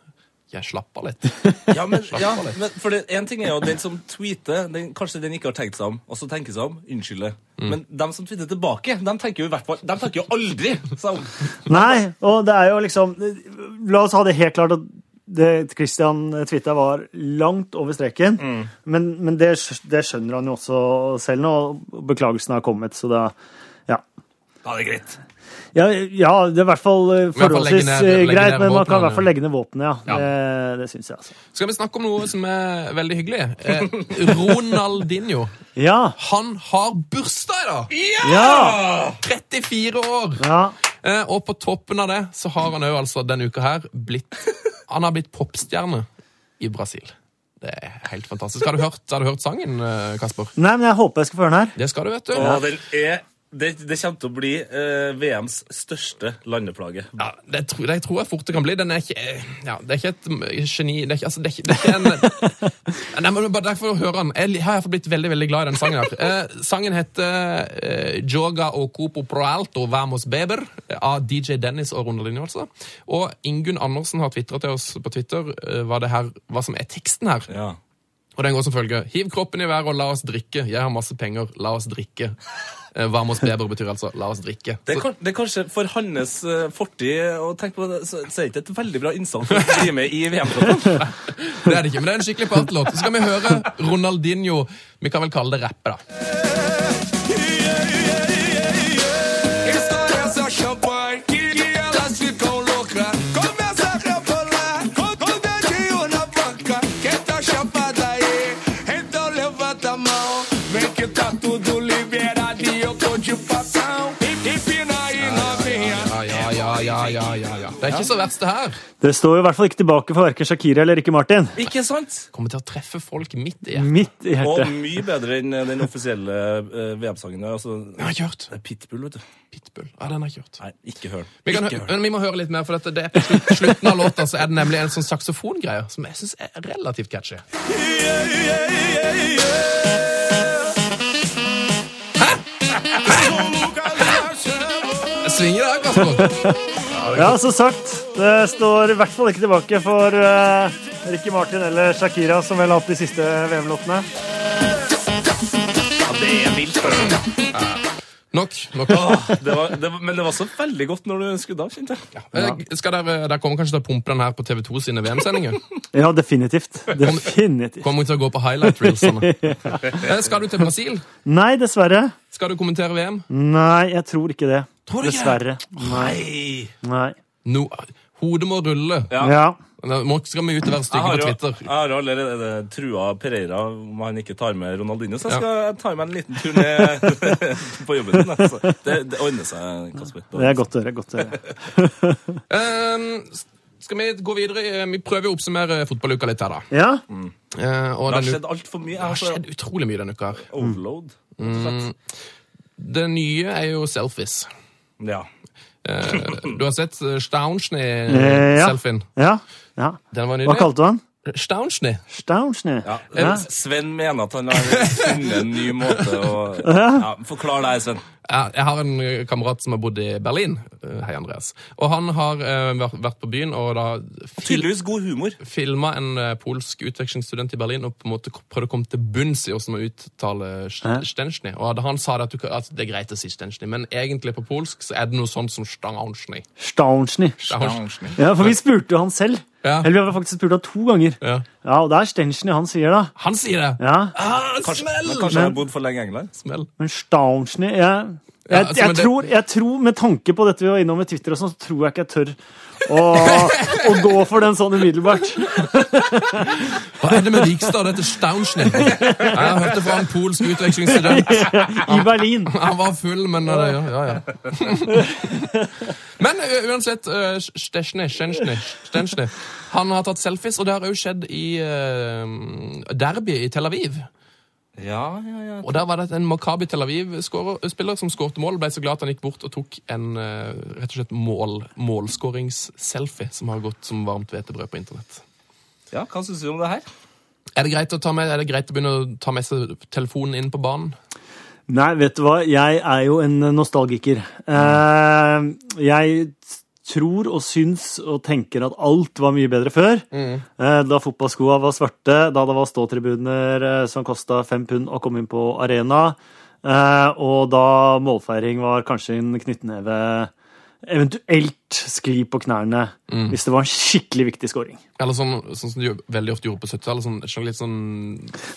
Speaker 4: jeg slapper litt.
Speaker 3: Ja, men, ja, men for det, en ting er jo den som tweeter, den, kanskje den ikke har tenkt seg om, og så tenker seg om, unnskylder. Men dem som tweeter tilbake, dem tenker jo i hvert fall, dem tenker jo aldri seg om.
Speaker 6: Nei, og det er jo liksom La oss ha det helt klart at det Christian Twitta var langt over streken.
Speaker 4: Mm.
Speaker 6: Men, men det, skj- det skjønner han jo også selv nå, og beklagelsen har kommet, så da Ja.
Speaker 3: Ja, det er greit.
Speaker 6: Ja, ja det er i hvert fall eh,
Speaker 4: hvert fall legge
Speaker 6: forholdsvis
Speaker 4: ned-
Speaker 6: eh,
Speaker 4: legge ned
Speaker 6: greit, men man kan i
Speaker 4: våpnene.
Speaker 6: hvert fall legge ned våpenet, ja.
Speaker 4: Ja.
Speaker 6: Det, det syns jeg, altså.
Speaker 4: Skal vi snakke om noe som er veldig hyggelig? Eh, Ronaldinho.
Speaker 6: Ja.
Speaker 4: Han har bursdag i dag!
Speaker 6: Ja!
Speaker 4: 34 år!
Speaker 6: ja.
Speaker 4: Eh, og på toppen av det så har han òg altså denne uka her blitt Han har blitt popstjerne i Brasil. Det er helt fantastisk. Har du hørt, har du hørt sangen, eh, Kasper?
Speaker 6: Nei, men jeg håper jeg skal få høre den her.
Speaker 4: Det skal du, vet du.
Speaker 3: Og den er det, det kommer til å bli eh, VMs største landeplage.
Speaker 4: Ja, det, tror, det tror jeg fort det kan bli. Den er ikke, eh, ja, det er ikke et mm, geni det er ikke, altså, det er ikke, det er ikke en, Nei, men bare Derfor hører han. Jeg har i hvert fall blitt veldig veldig glad i den sangen. her. Eh, sangen heter eh, 'Joga o cupo pro alto vamos beber' av DJ Dennis og Ronaldinho. altså. Og Ingunn Andersen har tvitra til oss på Twitter eh, hva, det her, hva som er teksten her.
Speaker 3: Ja.
Speaker 4: Og den går som følger. Hiv kroppen i været og la oss drikke. Jeg har masse penger, la oss drikke. Eh, Varm oss beber betyr altså la oss drikke.
Speaker 3: Det er,
Speaker 4: Så-
Speaker 3: kan, det er kanskje for hans eh, fortid å tenke på det, så, så er det ikke et veldig bra innsalg for å bli med i (laughs) VM-troppen.
Speaker 4: Det er det ikke, men det er en skikkelig partylåt. Så skal vi høre Ronaldinho. Vi kan vel kalle det rappe, da. Ja, ja, ja, ja, ja, ja, ja. Det er ikke så verst, det her.
Speaker 6: Det står jo i hvert fall ikke tilbake for verken Shakira eller Rikke Martin.
Speaker 3: Ikke sant?
Speaker 4: Kommer til å treffe folk midt i hjertet.
Speaker 6: Midt i
Speaker 3: Og
Speaker 6: hjertet.
Speaker 3: mye bedre enn eh, den offisielle eh, VM-sangen. der, Altså,
Speaker 4: Den har jeg ikke hørt.
Speaker 3: det er Pitbull, vet du.
Speaker 4: Pitbull. Ja, den har jeg ikke hørt.
Speaker 3: Nei, ikke hør
Speaker 4: Vi, kan,
Speaker 3: den. Ikke
Speaker 4: hø-
Speaker 3: hør den.
Speaker 4: men vi må høre litt mer, for dette, det er på slu- slutten av låta så er det nemlig en sånn saksofongreie som jeg syns er relativt catchy. Jeg svinger der, Kasper.
Speaker 6: Ja, som sagt. Det står i hvert fall ikke tilbake for eh, Ricky Martin eller Shakira, som vel har hatt de siste VM-låtene.
Speaker 4: Nok. nok.
Speaker 3: Ah, Det var, det var, men det var så veldig godt når du skrudde av, kjente jeg.
Speaker 4: Eh, Skal dere, dere kommer kanskje til å pumpe den her på TV2 sine VM-sendinger?
Speaker 6: Ja, definitivt. (laughs) Definitivt.
Speaker 4: Kommer vi til å gå på highlight reelsene? Eh, Skal du til Brasil?
Speaker 6: Nei, dessverre.
Speaker 4: Skal du kommentere VM?
Speaker 6: Nei, jeg tror ikke det.
Speaker 4: du ikke
Speaker 6: Dessverre.
Speaker 3: Nei!
Speaker 6: Nei.
Speaker 4: No, hodet må rulle.
Speaker 3: Ja.
Speaker 6: Ja.
Speaker 4: Nå skal vi ut og være
Speaker 3: Jeg
Speaker 4: stygge
Speaker 3: har,
Speaker 4: på
Speaker 3: jo, jeg
Speaker 4: Twitter.
Speaker 3: har allerede trua Pereira om han ikke tar med Ronaldinho, så jeg
Speaker 4: Ja.
Speaker 3: skal eh, ta meg en liten tur ned (laughs) på jobben din. Altså. Det, det ordner seg, Kasper. Det
Speaker 6: Det
Speaker 3: ordner
Speaker 6: er godt å høre. godt å høre.
Speaker 4: Eh, s- skal vi gå videre? i- Vi prøver å oppsummere fotballuka litt her, da.
Speaker 6: Ja,
Speaker 4: Eh, og
Speaker 3: Det har
Speaker 4: denne-
Speaker 3: skjedd altså- altfor mye.
Speaker 4: Det
Speaker 3: Jeg
Speaker 4: har
Speaker 3: har
Speaker 4: skjedd utrolig mye denne uka. her.
Speaker 3: overload. rett og slett.
Speaker 4: Det nye er jo selfies.
Speaker 3: Ja.
Speaker 4: Eh, Du har sett eh,
Speaker 6: Eh, ja.
Speaker 4: Staunchny-selfien?
Speaker 6: ja, ja.
Speaker 4: Den var
Speaker 6: Hva
Speaker 4: nydelig.
Speaker 6: kalte du han?
Speaker 4: Staunchny.
Speaker 6: Staunchny?
Speaker 3: Ja.
Speaker 6: Ja.
Speaker 3: Sven mener at han har funnet en ny måte å ja, Forklar deg, Sven.
Speaker 4: Ja, Jeg har en eh, kamerat som har bodd i Berlin. Eh, Hei, Andreas. Og han har eh, vært vært på byen og da fil
Speaker 3: Tydeligvis god humor.
Speaker 4: filma en eh, polsk utvekslingsstudent i Berlin og på en måte k- prøvde å komme til bunns i hvordan man uttaler
Speaker 6: Hæ?
Speaker 4: Staunchny. Og da han sa det at, du, kan- at det er greit å si Staunchny, men egentlig på polsk så er det noe sånt som Staunchny.
Speaker 6: Staunchny.
Speaker 4: Staunchny.
Speaker 6: Ja, for vi spurte jo han selv.
Speaker 4: Ja.
Speaker 6: Eller vi har faktisk spurt han to ganger.
Speaker 4: Ja.
Speaker 6: Ja, og det er Staunchny han sier, da.
Speaker 4: Han sier det!
Speaker 6: Ja,
Speaker 4: Ah, smell!
Speaker 3: Men kanskje han har bodd for lenge i England?
Speaker 4: Smell.
Speaker 6: Men Staunchny jeg,
Speaker 4: Ja,
Speaker 6: jeg,
Speaker 4: altså, men
Speaker 6: jeg,
Speaker 4: det-
Speaker 6: tror, jeg tror, med tanke på dette vi var innom med Twitter, og sånn, så tror jeg ikke jeg tør å, å gå for den sånn umiddelbart.
Speaker 4: Hva er det med Vikstad? Dette er Staunchny. Jeg har hørt det fra en polsk utvekslingsstudent.
Speaker 6: I Berlin.
Speaker 4: Han var full, men ja, ja, ja, ja. Men ø, uansett, eh, ø, Stensjny, Stensjny, Stensjny Han har tatt selfies, og det har òg skjedd i ø, derby i Tel Aviv.
Speaker 3: Ja, ja, ja.
Speaker 4: Og Der var det en Makabi Tel Aviv-spiller som skårte mål, ble så glad at han gikk bort og tok en ø, rett og slett mål, målskåringsselfie som har gått som varmt hvetebrød på internett.
Speaker 3: ja hva syns du om det her?
Speaker 4: Er det greit å ta med, er det greit å begynne å ta med seg telefonen inn på banen?
Speaker 6: Nei, vet du hva? Jeg er jo en nostalgiker. Eh, jeg tror og syns og tenker at alt var mye bedre før. Eh, da fotballskoa var svarte, da det var ståtribuner eh, som kosta fem pund å komme inn på arena, eh, og da målfeiring var kanskje en knyttneve Eventuelt skli på knærne hvis det var en skikkelig viktig scoring.
Speaker 4: Eller sånn, sånn som de jo veldig ofte gjorde på 70-tallet. Sånn, sånn litt sånn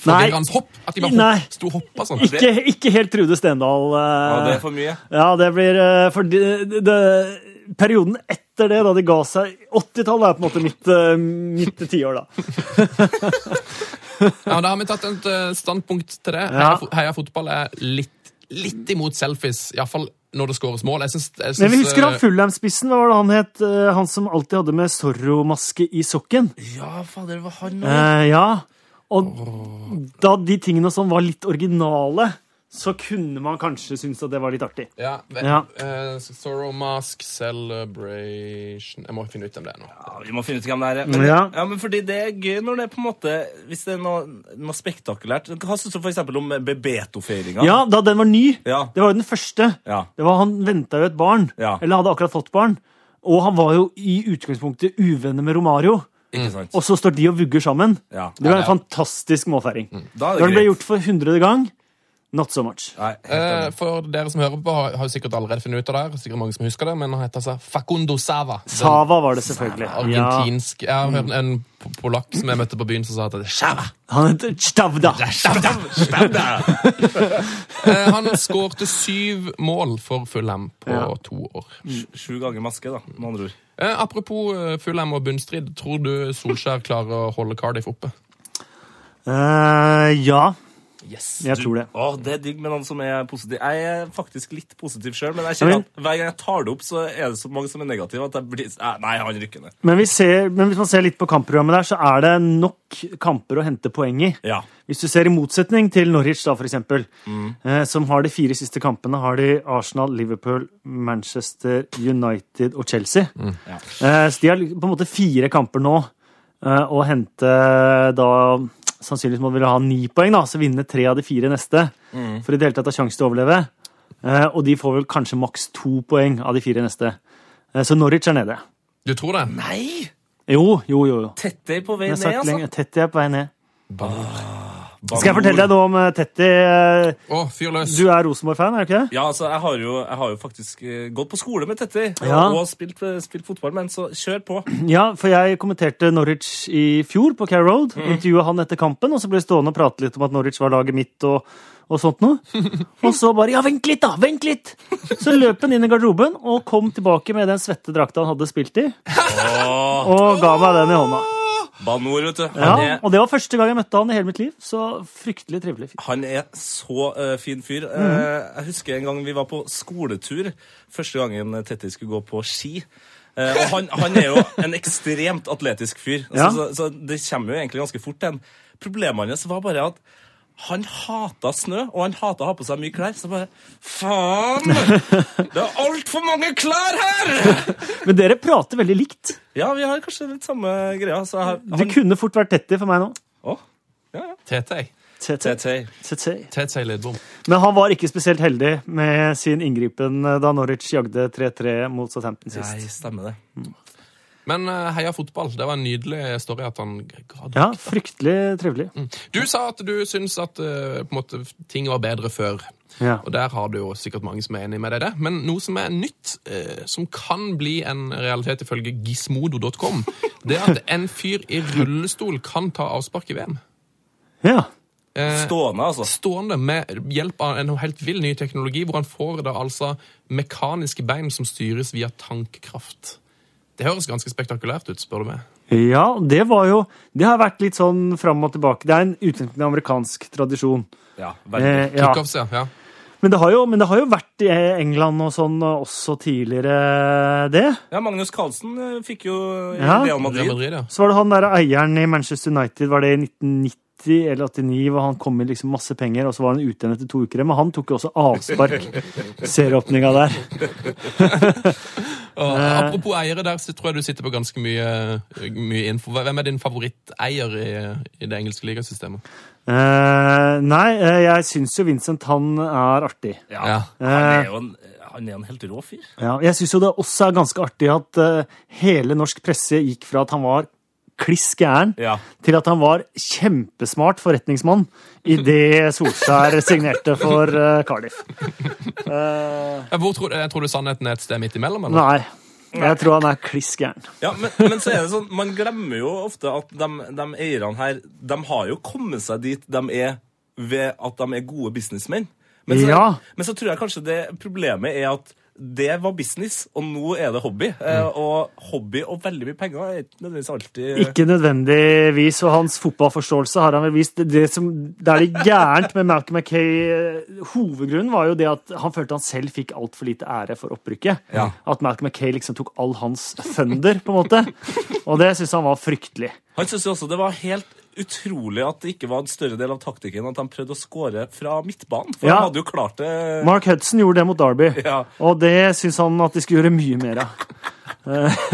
Speaker 4: forvirrende hopp. At de bare
Speaker 6: Nei.
Speaker 4: hopp, sto og hoppa sånn.
Speaker 6: Ikke, ikke helt Trude Stendal.
Speaker 3: Altså,
Speaker 6: eh,
Speaker 3: Ja, det er for mye.
Speaker 6: Ja, det blir eh, For det, det, det, perioden etter det, da de ga seg 80-tallet er på en måte mitt, eh, mitt
Speaker 3: (laughs)
Speaker 6: tiår, da.
Speaker 4: Ja, da har vi tatt et eh, standpunkt til det. Heia,
Speaker 6: Ja.
Speaker 4: fo- heia fotball er litt, litt imot selfies. Iallfall når det skåres mål. Jeg syns, jeg syns
Speaker 6: Men vi husker han
Speaker 4: eh,
Speaker 6: Fulham-spissen. Hva var det han het? Eh, Han som alltid hadde med Zorro-maske i sokken?
Speaker 3: Ja, fader, det var han òg.
Speaker 6: Eh, ja. Og da de tingene og sånn var litt originale, så kunne man kanskje synes at det var litt artig.
Speaker 4: ja, ve-
Speaker 6: Ja.
Speaker 4: eh, Sorrow Mask Celebration Jeg må finne ut om det nå.
Speaker 3: Ja, vi må finne ut hvem det er. Men, ja.
Speaker 6: Ja.
Speaker 3: men fordi det er gøy når det er på en måte Hvis det er noe, noe spektakulært Hva syns du for eksempel om Bebeto-feiringa?
Speaker 6: Ja, da den var ny.
Speaker 3: Ja.
Speaker 6: Det var jo den første.
Speaker 3: Ja.
Speaker 6: Det var, han venta jo et barn.
Speaker 3: Ja.
Speaker 6: Eller hadde akkurat fått barn. Og han var jo i utgangspunktet uvenner med Romario.
Speaker 3: Ikke sant?
Speaker 6: og så står de og vugger sammen.
Speaker 3: Ja.
Speaker 6: Det var
Speaker 4: Ja, ja.
Speaker 6: en fantastisk målfeiring.
Speaker 3: Mm. Da er
Speaker 6: Når
Speaker 3: det
Speaker 6: det ble
Speaker 3: greit.
Speaker 6: gjort for hundrede gang, not so much.
Speaker 3: Nei, helt
Speaker 4: Eh,
Speaker 3: enig.
Speaker 4: for dere som hører på, har, har jo sikkert allerede funnet ut av det. her, sikkert mange som husker det, Men han heter altså Facundo Sava. Den
Speaker 6: Sava var det selvfølgelig. Ja.
Speaker 4: Argentinsk Jeg har hørt en po- polakk som jeg møtte på byen, som sa at det er Sava!
Speaker 6: Han heter Stavda.
Speaker 4: Eh, han skårte syv mål for Fulham på
Speaker 6: Ja. Mm.
Speaker 4: to år.
Speaker 3: Sju ganger maske, da, med andre ord.
Speaker 4: Eh, apropos eh, Fulham og bunnstrid. Tror du Solskjær klarer å holde Cardiff oppe?
Speaker 6: Eh, ja,
Speaker 4: Yes.
Speaker 6: jeg tror det.
Speaker 3: Å, det er digg med noen som er positiv. Jeg er faktisk litt positiv sjøl, men jeg
Speaker 6: Ja,
Speaker 3: kjenner
Speaker 6: men-
Speaker 3: at hver gang jeg tar det opp, så er det så mange som er negative at jeg blir Eh, Nei, han rykker ned.
Speaker 6: Men, vi ser, men hvis man ser litt på kampprogrammet der, så er det nok kamper å hente poeng i.
Speaker 3: Ja.
Speaker 6: Hvis du ser i motsetning til Norwich, da, for eksempel, eh, som har de fire siste kampene, har de Arsenal, Liverpool, Manchester United og Chelsea. Eh, så de har på en måte fire kamper nå eh, å hente da Sannsynligvis må de ville ha ni poeng, da, så vinne tre av de fire neste. For i det hele tatt ha sjanse til å overleve. Eh, og de får vel kanskje maks to poeng av de fire neste. Eh, så Norwich er nede.
Speaker 4: Du tror det?
Speaker 3: Nei!
Speaker 6: Jo, jo, jo. jo.
Speaker 3: Tetty på vei
Speaker 6: Jeg
Speaker 3: ned,
Speaker 6: har sagt
Speaker 3: altså.
Speaker 6: lenge. Tetty er på vei ned.
Speaker 3: Banor.
Speaker 6: Skal jeg fortelle deg noe om eh, Tetty? eh,
Speaker 4: Å, fyr løs!
Speaker 6: Du er Rosenborg-fan, er du ikke det?
Speaker 3: Ja, altså, jeg har jo, jeg har jo faktisk eh, gått på skole med Tetty og-
Speaker 6: Ja.
Speaker 3: og spilt, eh, spilt fotball med han, så kjør på.
Speaker 6: Mm. Ja, for jeg kommenterte Norwich i fjor på Care Road. Intervjua han etter kampen, og så ble jeg stående og prate litt om at Norwich var laget mitt og, og sånt (laughs) noe. Og så bare Ja, vent litt, da! Vent litt! Så løp han inn i garderoben og kom tilbake med den svette drakta han hadde spilt i, og ga meg den i hånda.
Speaker 3: Banor, vet du.
Speaker 6: Ja,
Speaker 3: Han er,
Speaker 6: og det var første gang jeg møtte han i hele mitt liv, så fryktelig trivelig. fyr.
Speaker 3: han er så eh, fin fyr. Eh,
Speaker 6: Mhm.
Speaker 3: jeg husker en gang vi var på skoletur. Første gangen Tetty skulle gå på ski. Eh, og han, han er jo en ekstremt atletisk fyr, altså,
Speaker 6: Ja.
Speaker 3: så, så det kommer jo egentlig ganske fort til. Problemet hans var bare at han hata snø, og han hata å ha på seg mye klær. Så bare
Speaker 6: (laughs)
Speaker 3: Faen! Det er altfor mange klær her!
Speaker 6: Men dere prater veldig likt.
Speaker 3: Ja, vi har kanskje litt samme greia. Så jeg,
Speaker 6: Det
Speaker 3: han,
Speaker 6: kunne fort vært Tetty for meg nå.
Speaker 3: Å, ja, ja.
Speaker 4: TT.
Speaker 6: Tetty.
Speaker 3: TT.
Speaker 6: Tetty.
Speaker 4: TT Lidbom.
Speaker 6: Men han var ikke spesielt heldig med sin inngripen eh, da Norwich jagde 3-3 mot Southampton sist.
Speaker 3: Nei, stemmer det.
Speaker 4: Men eh, heia fotball. Det var en nydelig story at han ga
Speaker 6: Ja, fryktelig trivelig.
Speaker 3: Mm.
Speaker 4: Du sa at du syns at eh, på en måte, ting var bedre før.
Speaker 6: Ja.
Speaker 4: Og der har du jo sikkert mange som er enig med deg i det. Men noe som er nytt, eh, som kan bli en realitet ifølge gismodo.com, det er at en fyr i rullestol kan ta avspark i VM.
Speaker 6: ja.
Speaker 4: Eh,
Speaker 3: Stående, altså.
Speaker 4: Stående med hjelp av en helt vill ny teknologi, hvor han får da altså mekaniske bein som styres via tankekraft. Det høres ganske spektakulært ut, spør du meg.
Speaker 6: Ja, det var jo Det har vært litt sånn fram og tilbake. Det er en utgangspunkt i amerikansk tradisjon.
Speaker 3: Ja, veldig.
Speaker 6: Eh, ja.
Speaker 4: Kickoffs, ja. ja.
Speaker 6: Men, det har jo, men det har jo vært i England og sånn og også tidligere, det.
Speaker 3: Ja, Magnus Carlsen eh, fikk jo i
Speaker 6: Ja.
Speaker 3: Real
Speaker 4: Real
Speaker 3: Madrid.
Speaker 4: Madrid, ja.
Speaker 6: Så var det han der eieren i Manchester United, var det i 1990? Eller 89, hvor han kom med liksom masse penger, og så var han ute igjen etter to uker. Men han tok jo også
Speaker 3: (laughs)
Speaker 6: avspark. Serieåpninga der.
Speaker 4: Og apropos eiere, der så tror jeg du sitter på ganske mye, mye info. Hvem er din favoritteier i, i det engelske ligasystemet?
Speaker 6: Eh, nei, eh, jeg syns jo Vincent han er artig.
Speaker 3: Ja.
Speaker 4: Ja.
Speaker 6: Eh.
Speaker 3: Han er jo en, han er en helt rå fyr.
Speaker 6: Ja, jeg syns jo det også er ganske artig at eh, hele norsk presse gikk fra at han var kliss gæren,
Speaker 3: Ja.
Speaker 6: til at han var kjempesmart forretningsmann idet Solskjær signerte for eh, Cardiff.
Speaker 4: Ja, Hvor tror, jeg tror du sannheten er et sted midt imellom? Eller?
Speaker 6: Nei, jeg tror han er kliss gæren.
Speaker 3: Ja, men, men så er det sånn, man glemmer jo ofte at de, de eierne her, de har jo kommet seg dit de er ved at de er gode businessmenn. Men så,
Speaker 6: Ja.
Speaker 3: men så tror jeg kanskje det problemet er at det var business, og nå er det hobby. Eh,
Speaker 6: Mm.
Speaker 3: og hobby og veldig mye penger er ikke nødvendigvis alltid
Speaker 6: Ikke nødvendigvis, og hans fotballforståelse har han vel vist. Det, som, det er litt gærent med Malcolm Mackay. eh, Hovedgrunnen var jo det at han følte han selv fikk altfor lite ære for opprykket.
Speaker 3: Ja.
Speaker 6: At Malcolm Mackay liksom tok all hans thunder, på en måte. Og det syns han var fryktelig.
Speaker 3: Han syntes jo også det var helt utrolig at det ikke var en større del av taktikken at han prøvde å skåre fra midtbanen. For
Speaker 6: Ja.
Speaker 3: han hadde jo klart det
Speaker 6: Mark Hudson gjorde det mot Derby,
Speaker 3: Ja.
Speaker 6: og det syns han at de skulle gjøre mye mer av.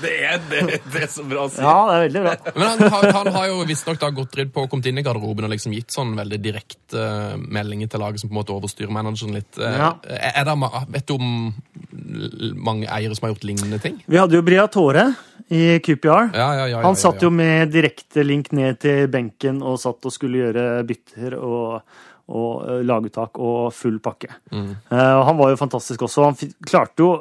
Speaker 3: Det er, det, det er så bra å si.
Speaker 6: Ja, det er veldig bra.
Speaker 4: Men han, har- han har jo visstnok da gått ridd på og kommet inn i garderoben og liksom gitt sånn veldig direkte eh, meldinger til laget som på en måte overstyrer manageren litt. Eh,
Speaker 6: Ja.
Speaker 4: Er er det, ma- vet du om l- mange eiere som har gjort lignende ting.
Speaker 6: Vi hadde jo Briatore i QPR.
Speaker 4: Ja, ja, ja, ja,
Speaker 6: Han satt jo
Speaker 4: ja,
Speaker 6: med direkte link ned til benken og satt og skulle gjøre bytter og, og eh, laguttak og full pakke.
Speaker 4: Mm.
Speaker 6: Eh, og han var jo fantastisk også. Han fi- klarte jo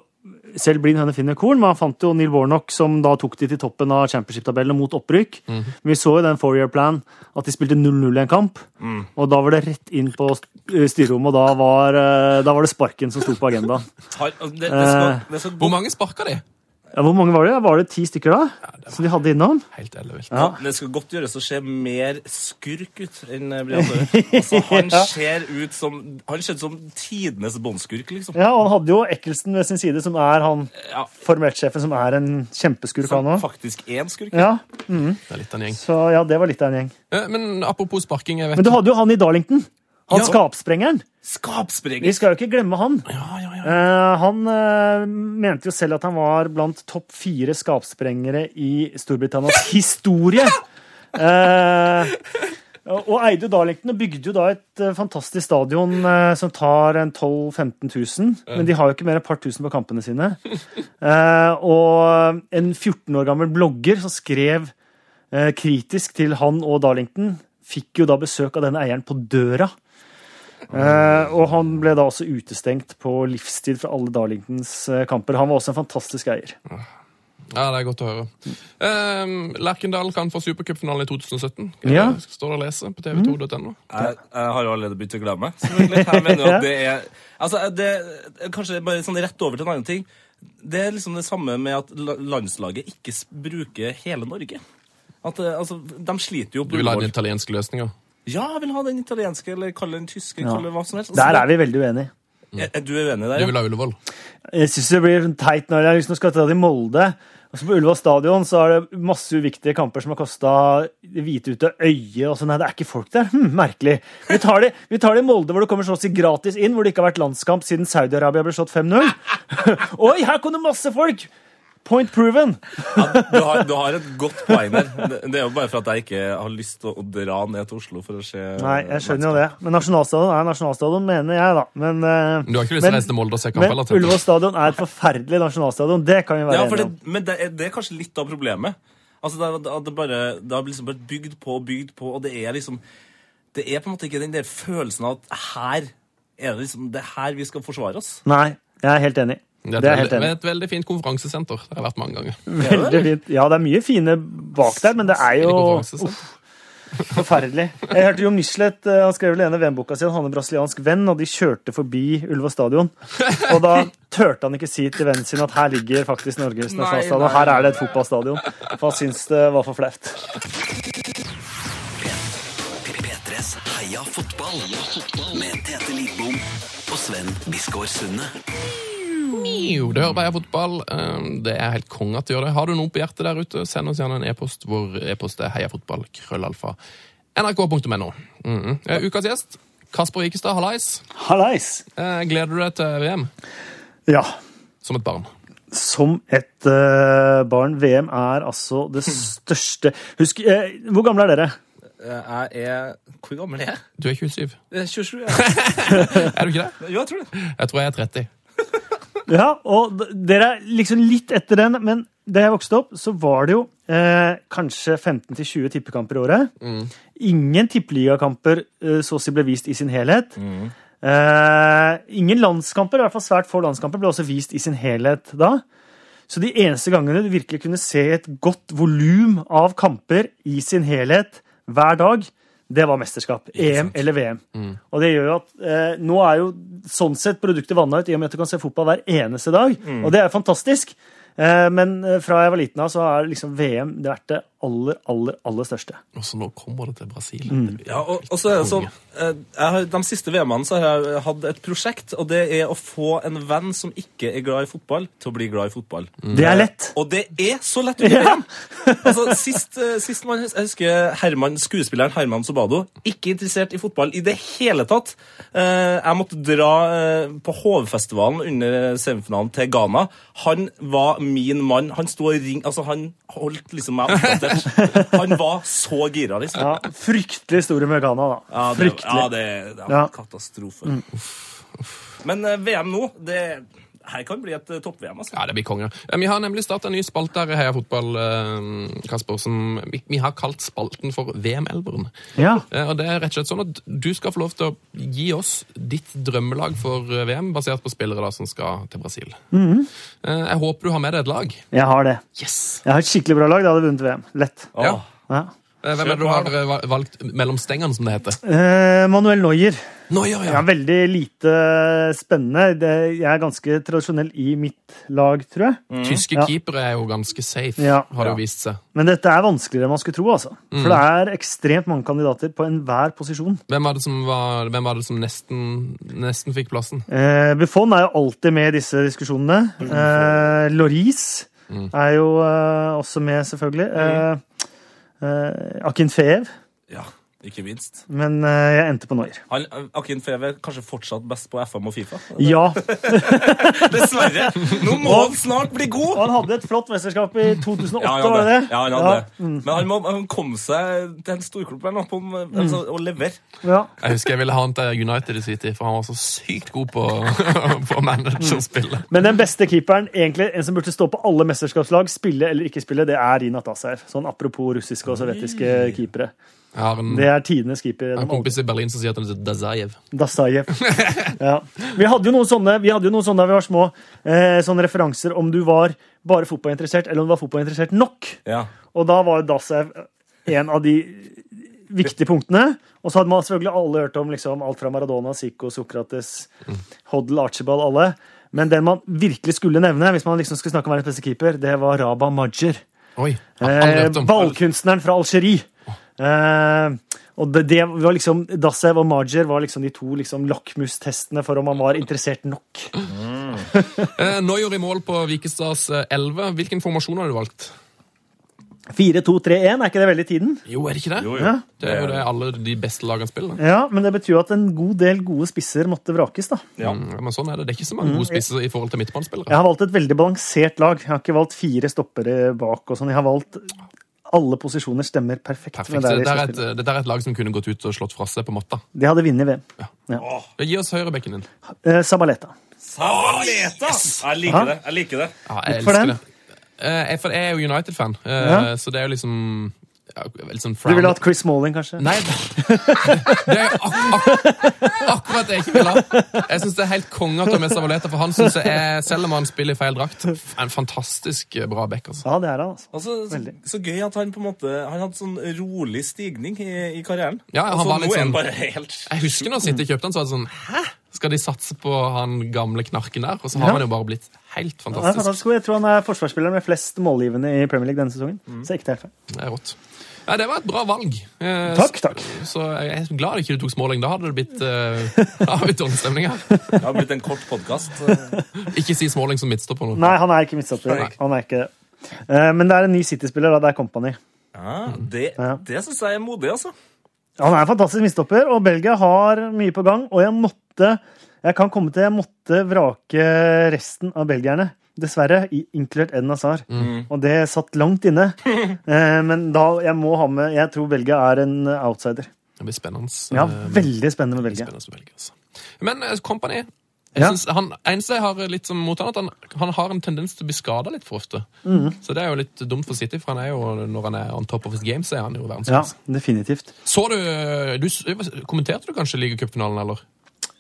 Speaker 6: selv blind høne finner korn, men han fant jo Neil Warnock, som da tok de til toppen av championship-tabellen mot opprykk.
Speaker 4: Mm.
Speaker 6: Vi så jo den four-year-plan, at de spilte 0-0 i en kamp.
Speaker 4: Mm.
Speaker 6: Og da var det rett inn på st- eh, styrerommet, og da var, eh, da var det sparken som sto
Speaker 4: (laughs)
Speaker 6: på agendaen.
Speaker 3: Har- altså, Det, det skal,
Speaker 6: Eh.
Speaker 3: det skal
Speaker 4: Hvor
Speaker 3: gå,
Speaker 4: mange sparka de?
Speaker 6: Ja, hvor mange var det? Var det ti stykker da? Som de hadde innom?
Speaker 4: Helt ellevilt.
Speaker 3: det skal godt gjøres å se mer skurk ut enn eh, Brian Tore. Altså,
Speaker 6: (laughs)
Speaker 3: han
Speaker 6: Ja.
Speaker 3: ser ut som Han ser ut som tidenes båndskurk, liksom.
Speaker 6: Ja, og han hadde jo Ekkelsen ved sin side, som er han
Speaker 3: Ja,
Speaker 6: formelt-sjefen, som er en kjempeskurk,
Speaker 3: som
Speaker 6: han òg.
Speaker 3: faktisk er en skurk.
Speaker 6: Ja,
Speaker 4: Det er litt av en gjeng.
Speaker 6: så ja, det var litt av en gjeng.
Speaker 4: Eh, Men apropos sparking, jeg vet
Speaker 6: Men du hadde jo han i Darlington. Han
Speaker 4: Ja.
Speaker 6: skapsprengeren. Vi
Speaker 3: Skapsprenger!
Speaker 6: skal jo ikke glemme han.
Speaker 4: Ja, ja, ja.
Speaker 6: Eh, han eh, mente jo selv at han var blant topp fire skapsprengere i Storbritannias historie. Eh, og eide jo Darlington og bygde jo da et eh, fantastisk stadion eh, som tar en 12 000-15 000. Men de har jo ikke mer enn et par tusen på kampene sine. Eh, og en 14 år gammel blogger som skrev eh, kritisk til han og Darlington, fikk jo da besøk av denne eieren på døra. Eh, og han ble da også utestengt på livstid fra alle Darlingtons eh, kamper. Han var også en fantastisk eier.
Speaker 4: ja, det er godt å høre. Eh, Lerkendal kan få supercupfinale i 2017.
Speaker 6: Ja.
Speaker 4: Det Eh, Står og leser på tv2.no.
Speaker 3: Jeg, jeg har jo allerede begynt å glemme. selvfølgelig. Jeg mener jo at det er altså, det, Kanskje bare sånn rett over til en annen ting. Det er liksom det samme med at la- landslaget ikke s- bruker hele Norge. At, eh, altså, De sliter jo
Speaker 4: Du
Speaker 3: på
Speaker 4: vil ha den
Speaker 3: Ullevål.
Speaker 4: italienske løsninga?
Speaker 3: Ja, jeg vil ha den italienske, eller kall den tyske, kall det hva som helst.
Speaker 6: Der er vi veldig uenige.
Speaker 3: Er, er du uenig der?
Speaker 4: Du
Speaker 3: ja?
Speaker 4: vil ha Ullevål?
Speaker 6: Jeg syns det blir sånn teit når jeg liksom skal ta det i Molde. Og så på Ullevål stadion så er det masse uviktige kamper som har kosta hvite ut av øyet. Og så nei, det er ikke folk der. Hm, merkelig. Vi tar, det, vi tar det i Molde, hvor det kommer så å si gratis inn, hvor det ikke har vært landskamp siden Saudi-Arabia ble slått 5-0. (laughs) Oi, her kom det masse folk! Point proven.
Speaker 3: Ja, du, har, du har et godt poeng der. Det, det er jo bare for at jeg ikke har lyst til å, å dra ned til Oslo for å se
Speaker 6: Nei, jeg skjønner jo det. Men nasjonalstadion er nasjonalstadion, mener jeg, da. Men, eh,
Speaker 4: Du har ikke lyst til å
Speaker 6: men-
Speaker 4: reise til Molde og se kamp?
Speaker 6: Men
Speaker 4: eller, tenker du?
Speaker 6: Ullevål stadion er et forferdelig nasjonalstadion. Det kan vi være
Speaker 3: Ja, for
Speaker 6: enige
Speaker 3: det,
Speaker 6: om.
Speaker 3: men det er, det er kanskje litt av problemet. Altså, det, er- det, er- det, er bare, det har liksom vært bygd på og bygd på, og det er liksom Det er på en måte ikke den der følelsen av at her er det liksom Det er her vi skal forsvare oss.
Speaker 6: Nei, jeg er helt enig. Det er jeg helt
Speaker 4: veldig,
Speaker 6: enig.
Speaker 4: et veldig fint konferansesenter. Det har jeg vært mange ganger.
Speaker 6: Veldig fint. Ja, det er mye fine bak der, men det
Speaker 4: Veldig
Speaker 6: er jo
Speaker 4: konferansesenter.
Speaker 6: forferdelig. Jeg hørte Jo Michelet eh, han skrev vel ene VM-boka si at han er en brasiliansk venn, og de kjørte forbi Ullevål stadion. Og da turte han ikke si til vennen sin at her ligger faktisk Norges nasjonalstadion, og her er det et fotballstadion. For han syntes det var for flaut.
Speaker 2: P3s Heia fotball. Heia fotball med Tete Lidbom og Sven Biskår Sunde.
Speaker 4: Jo, det hører bare fotball. Um, Det er helt konge at de gjør det. Har du noe på hjertet der ute, send oss gjerne en e-post. Vår e-post er heiafotballkrøllalfa nrk.no. Mm -hmm. Eh, Ukas gjest, Kasper Wikestad, hallais.
Speaker 6: Hallais!
Speaker 4: Eh, Gleder du deg til VM?
Speaker 6: Ja.
Speaker 4: Som et barn.
Speaker 6: som et eh, barn. VM er altså det største Husk, eh, Hvor gamle er dere?
Speaker 3: Jeg er Hvor gammel er jeg?
Speaker 4: Du er 27.
Speaker 3: Jeg er 27. Jeg.
Speaker 4: Er du ikke det?
Speaker 3: Jo, jeg tror det.
Speaker 4: Jeg tror jeg er 30.
Speaker 6: Ja, og d- Dere er liksom litt etter den, men da jeg vokste opp, så var det jo eh, kanskje 15-20 tippekamper i året. Ingen tippeligakamper eh, så å si ble vist i sin helhet. Eh, ingen landskamper, i hvert fall svært få landskamper, ble også vist i sin helhet da. Så de eneste gangene du virkelig kunne se et godt volum av kamper i sin helhet hver dag, det var mesterskap. EM eller VM. Og det gjør jo at eh, nå er jo sånn sett produktet vanna ut, i og med at du kan se fotball hver eneste dag. Og det er fantastisk. Eh, men eh, fra jeg var liten av, så har liksom VM det vært det aller, aller, aller største.
Speaker 4: Og så nå kommer det til Brasil.
Speaker 6: Mm.
Speaker 3: Ja, og, og så er det sånn eh, jeg har, De siste VM-ene så har jeg hatt et prosjekt, og det er å få en venn som ikke er glad i fotball, til å bli glad i fotball.
Speaker 6: Det er lett.
Speaker 3: Og det er så lett under VM! altså, sist, eh, sist man, Jeg husker Herman, skuespilleren Herman Sobado. Ikke interessert i fotball i det hele tatt. Eh, Jeg måtte dra eh, på Hovefestivalen under semifinalen til Ghana. Han var min mann. Han sto og ring... Altså, han holdt liksom meg oppdatert. Han var så gira, liksom.
Speaker 6: Ja, fryktelig store med Ghana, da.
Speaker 3: Ja, det,
Speaker 6: fryktelig. Mm.
Speaker 3: ja, det, det er
Speaker 6: Ja.
Speaker 3: katastrofe. Men eh, VM nå, det her kan bli et eh, topp-VM. altså.
Speaker 4: Ja, det blir konge. Eh, Vi har nemlig starta en ny spalte her i Heia Fotball, eh, Kasper, som vi, vi har kalt spalten for VM-elveren.
Speaker 6: Ja.
Speaker 4: Eh, Og det er rett og slett sånn at du skal få lov til å gi oss ditt drømmelag for eh, VM, basert på spillere da som skal til Brasil.
Speaker 6: Mhm.
Speaker 4: Eh, Jeg håper du har med deg et lag.
Speaker 6: Jeg har det.
Speaker 4: Yes!
Speaker 6: Jeg har et skikkelig bra lag. Da hadde jeg vunnet VM. Lett.
Speaker 3: Åh.
Speaker 4: Ja.
Speaker 6: Ja.
Speaker 4: Eh, Hvem er det du har eh, val- valgt mellom stengene, som det heter?
Speaker 6: Eh, Manuel Neuer.
Speaker 4: Neuer,
Speaker 6: Ja,
Speaker 4: ja!
Speaker 6: veldig lite spennende. Det, jeg er ganske tradisjonell i mitt lag, tror jeg.
Speaker 4: Tyske
Speaker 6: Ja.
Speaker 4: keepere er jo ganske safe,
Speaker 6: Ja.
Speaker 4: har det
Speaker 3: Ja.
Speaker 4: jo vist seg.
Speaker 6: Men dette er vanskeligere enn man skulle tro. altså. For det er ekstremt mange kandidater på enhver posisjon.
Speaker 4: Hvem var det som, var, hvem var det som nesten, nesten fikk plassen?
Speaker 6: Eh, Buffon er jo alltid med i disse diskusjonene. Eh, Loris er jo eh, også med, selvfølgelig. Eh, eh, Akinfeev.
Speaker 3: ja, ikke minst.
Speaker 6: Men eh, jeg endte på Noir.
Speaker 3: Han, eh, Akin Feve kanskje fortsatt best på FM og (laughs) Fifa.
Speaker 6: Ja.
Speaker 3: Dessverre. Nå må han snart bli god!
Speaker 6: Og (laughs) han hadde et flott mesterskap i 2008,
Speaker 3: Ja, han
Speaker 6: var
Speaker 3: hadde
Speaker 6: det Mm. det?
Speaker 3: Ja, han hadde. Men han må han komme seg til en storklubb eller noe på-
Speaker 6: Mm.
Speaker 3: altså, og levere.
Speaker 6: Ja.
Speaker 4: Jeg husker jeg ville ha han til United i sin tid, for han var så sykt god på, på managerspillet.
Speaker 6: Men den beste keeperen, egentlig, en som burde stå på alle mesterskapslag, spille eller ikke spille, det er Rinat Asaev. Sånn apropos russiske og sovjetiske keepere.
Speaker 4: Jeg har en,
Speaker 6: Det er tidenes keeper.
Speaker 4: en
Speaker 6: gjennom alle.
Speaker 4: kompis i Berlin som sier at han heter Dazajev.
Speaker 6: Dasajev. Ja. Vi hadde jo noen sånne vi hadde jo noen sånne da vi var små, eh, sånne referanser om du var bare fotballinteressert, eller om du var fotballinteressert nok.
Speaker 3: Ja.
Speaker 6: Og da var Dasajev en av de viktige punktene. Og så hadde man selvfølgelig alle hørt om liksom, alt fra Maradona, Zico, Sokrates, Hoddle, Archibald, alle. Men den man virkelig skulle nevne, hvis man liksom skulle snakke om verdens beste keeper, det var Raba Majer.
Speaker 4: Oi, har aldri
Speaker 6: Eh,
Speaker 4: hørt om.
Speaker 6: ballkunstneren fra Algerie. Eh, og det, det var liksom Dassev og Majer var liksom de to liksom, lakmustestene for om han var interessert nok.
Speaker 4: Eh, Neuer i mål på Vikestads eh, 11. Hvilken formasjon har du valgt?
Speaker 6: 4-2-3-1, er ikke det veldig tiden?
Speaker 4: Jo, er det ikke det?
Speaker 3: Jo, jo.
Speaker 6: Ja.
Speaker 4: Det er jo det alle de beste lagene spiller.
Speaker 6: ja, Men det betyr jo at en god del gode spisser måtte vrakes, da.
Speaker 3: Ja.
Speaker 4: Mm, Men sånn er det. Det er ikke så mange gode spisser i forhold til midtbanespillere.
Speaker 6: Jeg har valgt et veldig balansert lag. Jeg har ikke valgt fire stoppere bak og sånn. Jeg har valgt alle posisjoner stemmer perfekt.
Speaker 4: Perfekt. Så
Speaker 6: med der i
Speaker 4: Dette er, et,
Speaker 6: skuespillet.
Speaker 4: dette er et lag som kunne gått ut og slått fra seg på matta.
Speaker 6: De hadde vunnet VM.
Speaker 4: Det Gi oss høyrebekken din.
Speaker 6: Eh, Sabaleta.
Speaker 3: Sabaleta! Jeg liker det. jeg liker det.
Speaker 4: Ja, jeg
Speaker 6: Hvorfor
Speaker 4: elsker
Speaker 6: den?
Speaker 4: det. Eh, jeg- For jeg er jo United-fan, eh,
Speaker 6: Ja.
Speaker 4: så det er jo liksom ja, litt sånn
Speaker 6: Du ville
Speaker 4: frowned
Speaker 6: hatt Chris Malling, kanskje?
Speaker 4: Nei, det (laughs) det er ak ak akkurat det jeg ikke vil ha. Jeg syns det er helt konge at Tomé Savaleta, for han synes jeg er, selv om han spiller i feil drakt, er en fantastisk bra back. altså.
Speaker 6: Ja, det er han, altså.
Speaker 3: Altså, så,
Speaker 6: Veldig.
Speaker 3: så gøy at han på en måte Han hadde sånn rolig stigning i, i karrieren.
Speaker 4: Ja, han
Speaker 3: Og så
Speaker 4: var litt
Speaker 3: nå er
Speaker 4: sånn-
Speaker 3: han bare helt
Speaker 4: Jeg husker når City kjøpte han, så var det sånn Hæ? Skal de satse på han gamle knarken der? Og så har han jo bare blitt helt
Speaker 6: Han er
Speaker 4: fantastisk.
Speaker 6: fantastisk god. Jeg tror han er forsvarsspilleren med flest målgivende i Premier League denne sesongen.
Speaker 4: Mm.
Speaker 6: Så ikke helt feil.
Speaker 4: Det er rått. Nei, Det var et bra valg. Eh,
Speaker 6: Takk, takk.
Speaker 4: Så jeg er glad ikke du tok småling. Da hadde det blitt eh, (laughs) da hadde det blitt dårlig stemning her.
Speaker 3: Det har blitt en kort podkast.
Speaker 4: Ikke si småling som midtstopper nå.
Speaker 6: Nei, han er ikke midtstopper.
Speaker 4: Nei.
Speaker 6: Han er ikke det. Eh, Men det er en ny City-spiller, da. Det er Company.
Speaker 3: Ja, det
Speaker 6: Ja.
Speaker 3: det syns jeg er modig, altså.
Speaker 6: Han er en fantastisk midtstopper, og Belgia har mye på gang. Og jeg måtte jeg kan komme til, jeg måtte vrake resten av belgierne, dessverre, i- inkludert Eden Hazard. Og det satt langt inne. Eh, Men da, jeg må ha med Jeg tror Belgia er en outsider.
Speaker 4: Det blir spennende.
Speaker 6: Ja,
Speaker 4: eh,
Speaker 6: veldig spennende med Belgia.
Speaker 4: Spennende å velge, altså. Men eh, Company jeg
Speaker 6: Ja.
Speaker 4: synes han, eneste jeg har eh, litt som mot han, at han, han har en tendens til å bli skada litt for ofte.
Speaker 6: Mm.
Speaker 4: Så det er jo litt dumt for City, for han er jo, når han er on top of his game, så er han jo
Speaker 6: Ja,
Speaker 4: verdensklasse.
Speaker 6: definitivt.
Speaker 4: Så du, eh, du s- Kommenterte du kanskje ligacupfinalen, eller?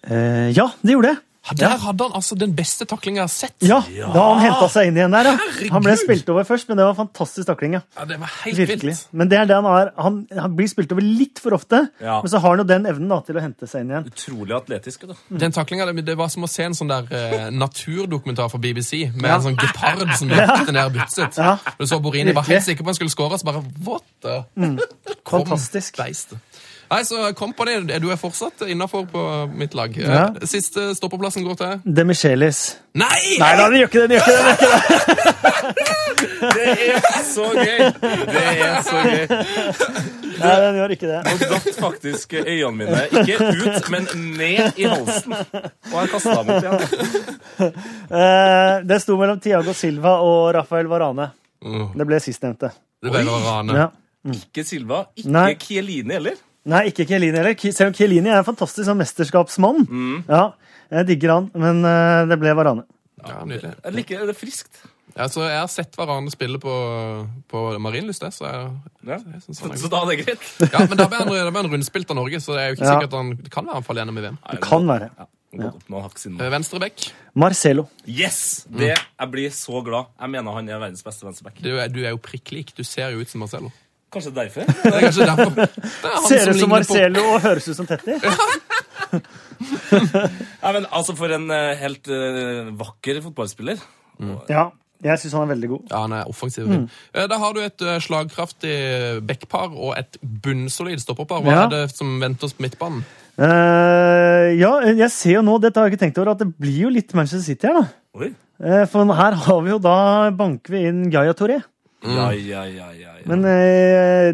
Speaker 6: Eh, Ja, det gjorde jeg.
Speaker 4: Ha, Der hadde han altså den beste taklingen jeg har sett!
Speaker 6: Ja, da han henta seg inn igjen der. Ja. Han ble spilt over først, men det var en fantastisk takling. Ja.
Speaker 4: Ja, det var helt
Speaker 6: Virkelig.
Speaker 4: vilt.
Speaker 6: Men det er det han er. Han, han blir spilt over litt for ofte,
Speaker 3: Ja.
Speaker 6: men så har han jo den evnen da, til å hente seg inn igjen.
Speaker 3: Utrolig atletisk. vet du.
Speaker 4: Den taklingen, det, det var som å se en sånn der eh, naturdokumentar fra BBC, med en sånn gepard som løpte ned og butset.
Speaker 6: Ja.
Speaker 4: Du så Borini var
Speaker 6: Virkelig. Mm.
Speaker 4: helt sikker på han skulle skåre, så bare what the (laughs) Kom,
Speaker 6: Fantastisk.
Speaker 4: Beist. Nei, så Company, du er fortsatt innafor på mitt lag.
Speaker 6: Ja.
Speaker 4: Eh, Siste stoppeplassen går til
Speaker 6: De Michelis.
Speaker 4: Nei!
Speaker 6: Nei da, de gjør ikke det! De gjør ikke det.
Speaker 3: Det er så gøy! Det er så gøy.
Speaker 6: Nei, de gjør ikke det.
Speaker 3: Og datt faktisk øynene mine ikke ut, men ned i halsen. Og jeg kasta dem opp igjen.
Speaker 6: Eh, det sto mellom Tiago Silva og Rafael Varane.
Speaker 4: Mm.
Speaker 6: Det ble sistnevnte.
Speaker 4: Det ble å rane.
Speaker 6: Ja.
Speaker 3: Ikke Silva, ikke
Speaker 6: Nei.
Speaker 3: Chiellini heller.
Speaker 6: Nei, ikke Kielini heller. Ki- Selv om
Speaker 4: Mm.
Speaker 6: Kielini er en fantastisk sånn mesterskapsmann. Ja, jeg digger han, men eh, det ble Varane.
Speaker 4: Ja, Ja, nydelig.
Speaker 3: Jeg liker det er friskt.
Speaker 4: Ja, så jeg har sett hverandre spille på, på Marienlyst, jeg, så jeg,
Speaker 3: Ja.
Speaker 4: jeg synes
Speaker 3: Så,
Speaker 4: han er
Speaker 3: så
Speaker 4: god.
Speaker 3: da er det greit.
Speaker 4: Ja, men da ble han, da ble han rundspilt av Norge, så det er jo ikke
Speaker 6: Ja.
Speaker 4: sikkert han det kan være han faller gjennom i VM.
Speaker 3: Nei,
Speaker 6: Kan være.
Speaker 3: Ja, gått opp noen hakk siden.
Speaker 4: Eh, Venstre back,
Speaker 6: Marcelo.
Speaker 3: Yes! Det, jeg blir så glad. Jeg mener han er verdens beste venstreback.
Speaker 4: du, er- du er jo prikk lik. Du ser jo ut som
Speaker 6: (laughs)
Speaker 4: Marcelo.
Speaker 3: Kanskje derfor.
Speaker 4: Det er kanskje derfor. Det er han
Speaker 6: Ser ut som
Speaker 4: ligner på-
Speaker 6: Marcelo og høres ut som Tetti.
Speaker 3: Nei, men altså For en eh, helt eh, vakker fotballspiller.
Speaker 6: Ja, jeg syns han er veldig god.
Speaker 4: Ja, han er offensiv. og fin.
Speaker 6: Mm.
Speaker 4: Eh, Da har du et eh, slagkraftig backpar og et bunnsolid stopperpar. Hva
Speaker 6: Ja.
Speaker 4: er det som venter oss på midtbanen?
Speaker 6: Eh, ja, jeg ser jo nå, dette har jeg ikke tenkt over, at det blir jo litt Manchester City her, da.
Speaker 3: Oi.
Speaker 6: Eh, For her har vi jo da banker vi inn Gaia Toré.
Speaker 3: Ja, ja, ja, ja, ja.
Speaker 6: Men eh,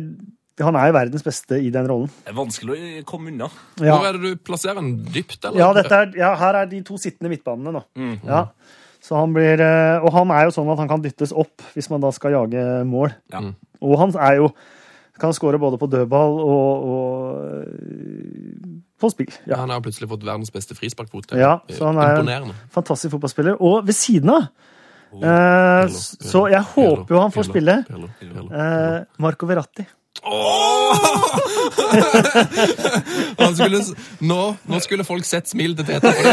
Speaker 6: han er jo verdens beste i den rollen.
Speaker 3: Det er vanskelig å eh, komme unna.
Speaker 6: Ja,
Speaker 4: Hvor er det du plasserer den? Dypt, eller?
Speaker 6: ja, dette er, ja her er de to sittende midtbanene nå.
Speaker 4: Mhm.
Speaker 6: Ja. Så han blir, eh, og han er jo sånn at han kan dyttes opp hvis man da skal jage mål.
Speaker 3: Ja.
Speaker 6: Og han er jo kan skåre både på dødball og, og eh, på spill.
Speaker 4: Ja,
Speaker 6: Ja.
Speaker 4: Han har jo plutselig fått verdens beste frisparkvote.
Speaker 6: Ja, så han er-
Speaker 4: Imponerende.
Speaker 6: Fantastisk fotballspiller. Og ved siden av! eh, s- så jeg håper jo han får spille.
Speaker 4: Pirlo, Pirlo.
Speaker 6: Eh, Marco Verratti.
Speaker 4: (laughs) Han skulle, s- nå, nå skulle folk sett smilet til Tete. for det.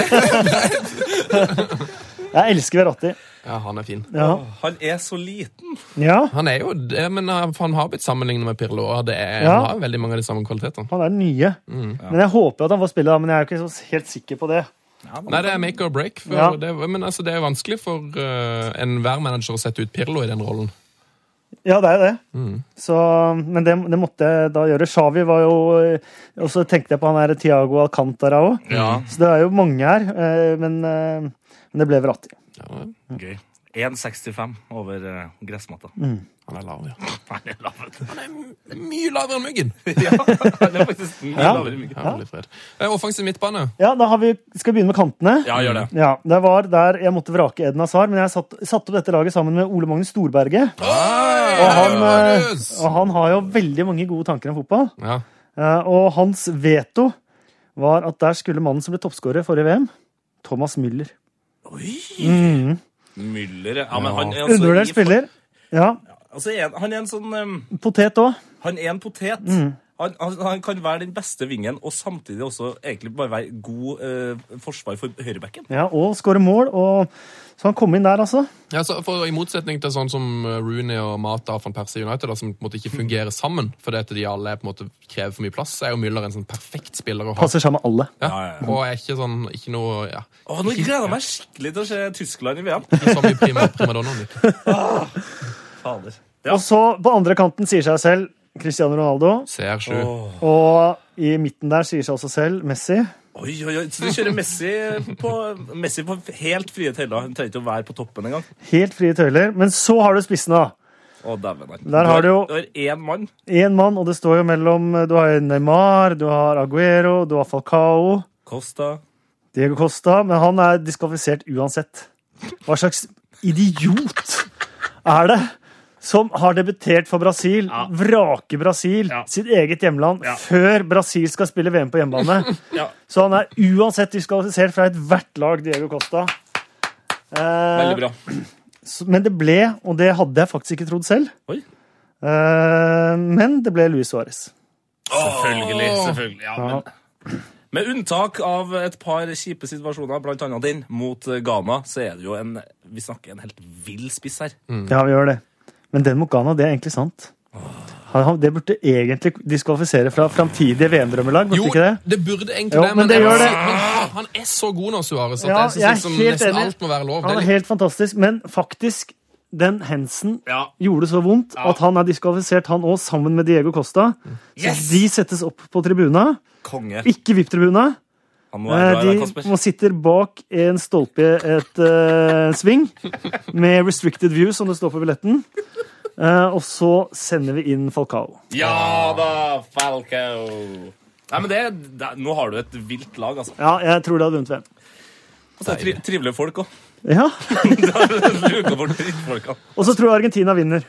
Speaker 6: Jeg elsker Verratti.
Speaker 4: Ja, han er fin.
Speaker 6: Ja.
Speaker 3: Han er så liten.
Speaker 6: ja.
Speaker 4: Han er jo det, men han han har blitt sammenlignet med Pirlo, og det er,
Speaker 6: Ja.
Speaker 4: han har veldig mange av de samme kvalitetene.
Speaker 6: Han er den nye. Men jeg håper at han får spille, da, men jeg er jo ikke så helt sikker på det.
Speaker 4: Nei, det er make or break. For
Speaker 6: Ja.
Speaker 4: det, men altså, det er vanskelig for eh, enhver manager å sette ut Pirlo i den rollen.
Speaker 6: Ja, det er jo det. Så, men det, det måtte jeg da gjøre. Shawi var jo eh, Og så tenkte jeg på han her Tiago Alcantara òg.
Speaker 4: Ja.
Speaker 6: Så det er jo mange her, eh, men, eh, men det ble Verratti.
Speaker 4: ja
Speaker 3: Gøy. 1,65 over eh, gressmatta. (laughs)
Speaker 4: han er lav, ja.
Speaker 3: Han er lav.
Speaker 4: Han er m- mye lavere enn Myggen.
Speaker 3: Ja, han er faktisk mye
Speaker 6: Ja.
Speaker 3: lavere enn (laughs) myggen.
Speaker 4: Ja, litt fred. Eh, Offensiv midtbane.
Speaker 6: Ja, da har vi, skal vi begynne med kantene.
Speaker 3: Ja, gjør det.
Speaker 6: Ja, Det var der jeg måtte vrake Edna Svar, men jeg satt- satte opp dette laget sammen med Ole Magnus Storberget. Og han, eh,
Speaker 4: Magnus!
Speaker 6: og han har jo veldig mange gode tanker om fotball.
Speaker 4: Mm. Ja.
Speaker 6: Eh, Og hans veto var at der skulle mannen som ble toppskårer forrige VM, Thomas Müller.
Speaker 3: Oi! Mm. Müller, ja. Men han er altså
Speaker 6: Undervurdert
Speaker 3: i-
Speaker 6: spiller. Ja,
Speaker 3: Altså, er han- han er en sånn em,
Speaker 6: Potet òg.
Speaker 3: Han er en potet. Han, han, han kan være den beste vingen og samtidig også egentlig bare være god eh, forsvar for høyrebekken.
Speaker 6: Ja, og skåre mål. Og... Så han kom inn der, altså.
Speaker 4: Ja, så for I motsetning til sånn som eh, Rooney og Mata og van Persie i United, da, som på en måte ikke fungerer sammen fordi at de alle er på en måte krever for mye plass, så er jo Müller en sånn perfekt spiller å ha.
Speaker 6: Passer sammen med alle.
Speaker 4: Ja.
Speaker 3: Ja, ja, ja.
Speaker 4: Og er ikke sånn ikke noe ja,
Speaker 3: Å, nå gleder jeg meg skikkelig til å se Tyskland i VM.
Speaker 4: ikke så mye prima, primadonna. Liksom.
Speaker 3: Fader. Ja.
Speaker 6: Og så på andre kanten sier seg selv Cristiano Ronaldo.
Speaker 4: CR7.
Speaker 6: Og i midten der sier seg også selv Messi.
Speaker 3: Oi, oi, oi. Så du kjører Messi på, Messi på helt frie tøyler. Hun trenger ikke å være på toppen engang.
Speaker 6: Helt frie tøyler. Men så har du spissene, da.
Speaker 3: Å, dæven. nei.
Speaker 6: Der har du jo-
Speaker 3: Du har én mann.
Speaker 6: Én mann, og det står jo mellom Du har Neymar, du har Aguero, du har Falcao,
Speaker 3: Costa.
Speaker 6: Diego Costa, men han er diskvalifisert uansett. Hva slags idiot er det som har debutert for Brasil, vraker Brasil,
Speaker 3: Ja.
Speaker 6: sitt eget hjemland,
Speaker 3: Ja.
Speaker 6: før Brasil skal spille VM på hjemmebane?
Speaker 3: (laughs) Ja.
Speaker 6: Så han er uansett diskvalifisert fra ethvert lag, Diego Costa. Eh,
Speaker 3: Veldig bra.
Speaker 6: s- men det ble, og det hadde jeg faktisk ikke trodd selv,
Speaker 3: Oi.
Speaker 6: eh, men det ble Luis Suárez.
Speaker 3: Selvfølgelig. selvfølgelig. Ja, men... Med unntak av et par kjipe situasjoner, blant annet den mot eh, Ghana, så er det jo en Vi snakker en helt vill spiss her.
Speaker 6: Ja, vi gjør det. Men den mot Ghana, det er egentlig sant. Han- han- Det burde egentlig diskvalifisere fra framtidige VM-drømmelag, burde
Speaker 4: Jo,
Speaker 6: ikke det?
Speaker 4: det burde egentlig
Speaker 6: Jo,
Speaker 4: det,
Speaker 6: men det
Speaker 4: jeg må
Speaker 6: gjør det.
Speaker 4: si- men han er så god nå, Suárez, at
Speaker 6: Ja,
Speaker 4: jeg
Speaker 6: jeg
Speaker 4: synes
Speaker 6: er
Speaker 4: liksom
Speaker 6: helt
Speaker 4: nesten
Speaker 6: enig.
Speaker 4: alt må være lov.
Speaker 6: Han
Speaker 4: Det
Speaker 6: er
Speaker 4: er litt,
Speaker 6: helt fantastisk, men faktisk den Hensen
Speaker 3: Ja.
Speaker 6: gjorde så vondt at han er diskvalifisert, han òg, sammen med Diego Costa.
Speaker 3: Yes!
Speaker 6: Så de settes opp på tribuna,
Speaker 3: Konge.
Speaker 6: ikke VIP-tribuna.
Speaker 3: Han må være
Speaker 6: Eh,
Speaker 3: glad i
Speaker 6: De
Speaker 3: deg, Kasper.
Speaker 6: må sitter bak en stolpe i et eh, sving med restricted view, som det står på billetten. Eh, og så sender vi inn Falcao.
Speaker 3: Ja da, Falco! Nei, men det, det, Nå har du et vilt lag, altså.
Speaker 6: Ja, jeg tror de hadde vunnet VM.
Speaker 3: Og så er det tri, trivelige folk (laughs) òg.
Speaker 6: (laughs) Ja.
Speaker 3: Luka bort drittfolka.
Speaker 6: Og så tror jeg Argentina vinner.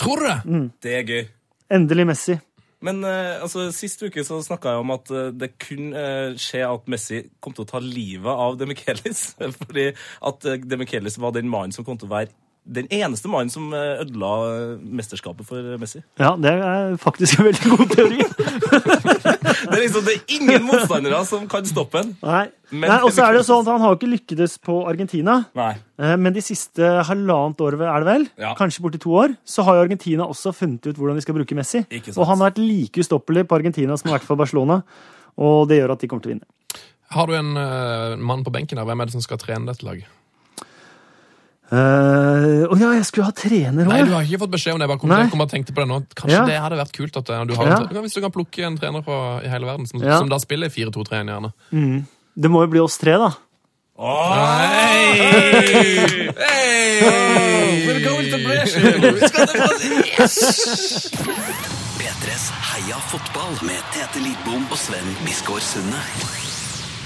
Speaker 4: tror du det?
Speaker 3: Det er gøy.
Speaker 6: Endelig Messi.
Speaker 3: Men eh, altså, sist uke så snakka jeg om at eh, det kunne eh, skje at Messi kom til å ta livet av Demichelis. (laughs) Fordi at eh, Demichelis var den mannen som kom til å være den eneste mannen som eh, ødela eh, mesterskapet for Messi.
Speaker 6: Ja, det er faktisk en veldig god teori.
Speaker 3: (laughs) Det er liksom det er ingen motstandere som kan stoppe ham.
Speaker 6: (laughs) Nei,
Speaker 3: Men-
Speaker 6: Nei og så er det jo sånn at han har jo ikke lyktes på Argentina.
Speaker 3: Nei.
Speaker 6: Eh, Men de siste halvannet året, er det vel,
Speaker 3: Ja.
Speaker 6: kanskje borti to år, så har jo Argentina også funnet ut hvordan de skal bruke Messi.
Speaker 3: Ikke sant.
Speaker 6: Og han har vært like ustoppelig på Argentina som han har vært for Barcelona. Og det gjør at de kommer til å vinne.
Speaker 4: Har du en eh, mann på benken her? Hvem er det som skal trene dette laget?
Speaker 6: Eh, Å ja, jeg skulle ha trener
Speaker 4: Nei, du har
Speaker 6: òg.
Speaker 4: ikke fått beskjed om det. Jeg bare kom,
Speaker 6: Nei.
Speaker 4: jeg kom og tenkte på det nå. Kanskje
Speaker 6: Ja.
Speaker 4: det hadde vært kult at eh, du har en,
Speaker 6: Ja.
Speaker 4: tre- hvis du kan plukke en trener fra i hele verden som,
Speaker 6: Ja.
Speaker 4: som da spiller 4-2-3-en gjerne.
Speaker 6: Det må jo bli oss tre, da.
Speaker 2: P3s Heia fotball med Tete Lidbom og Sven Biskår Sunde.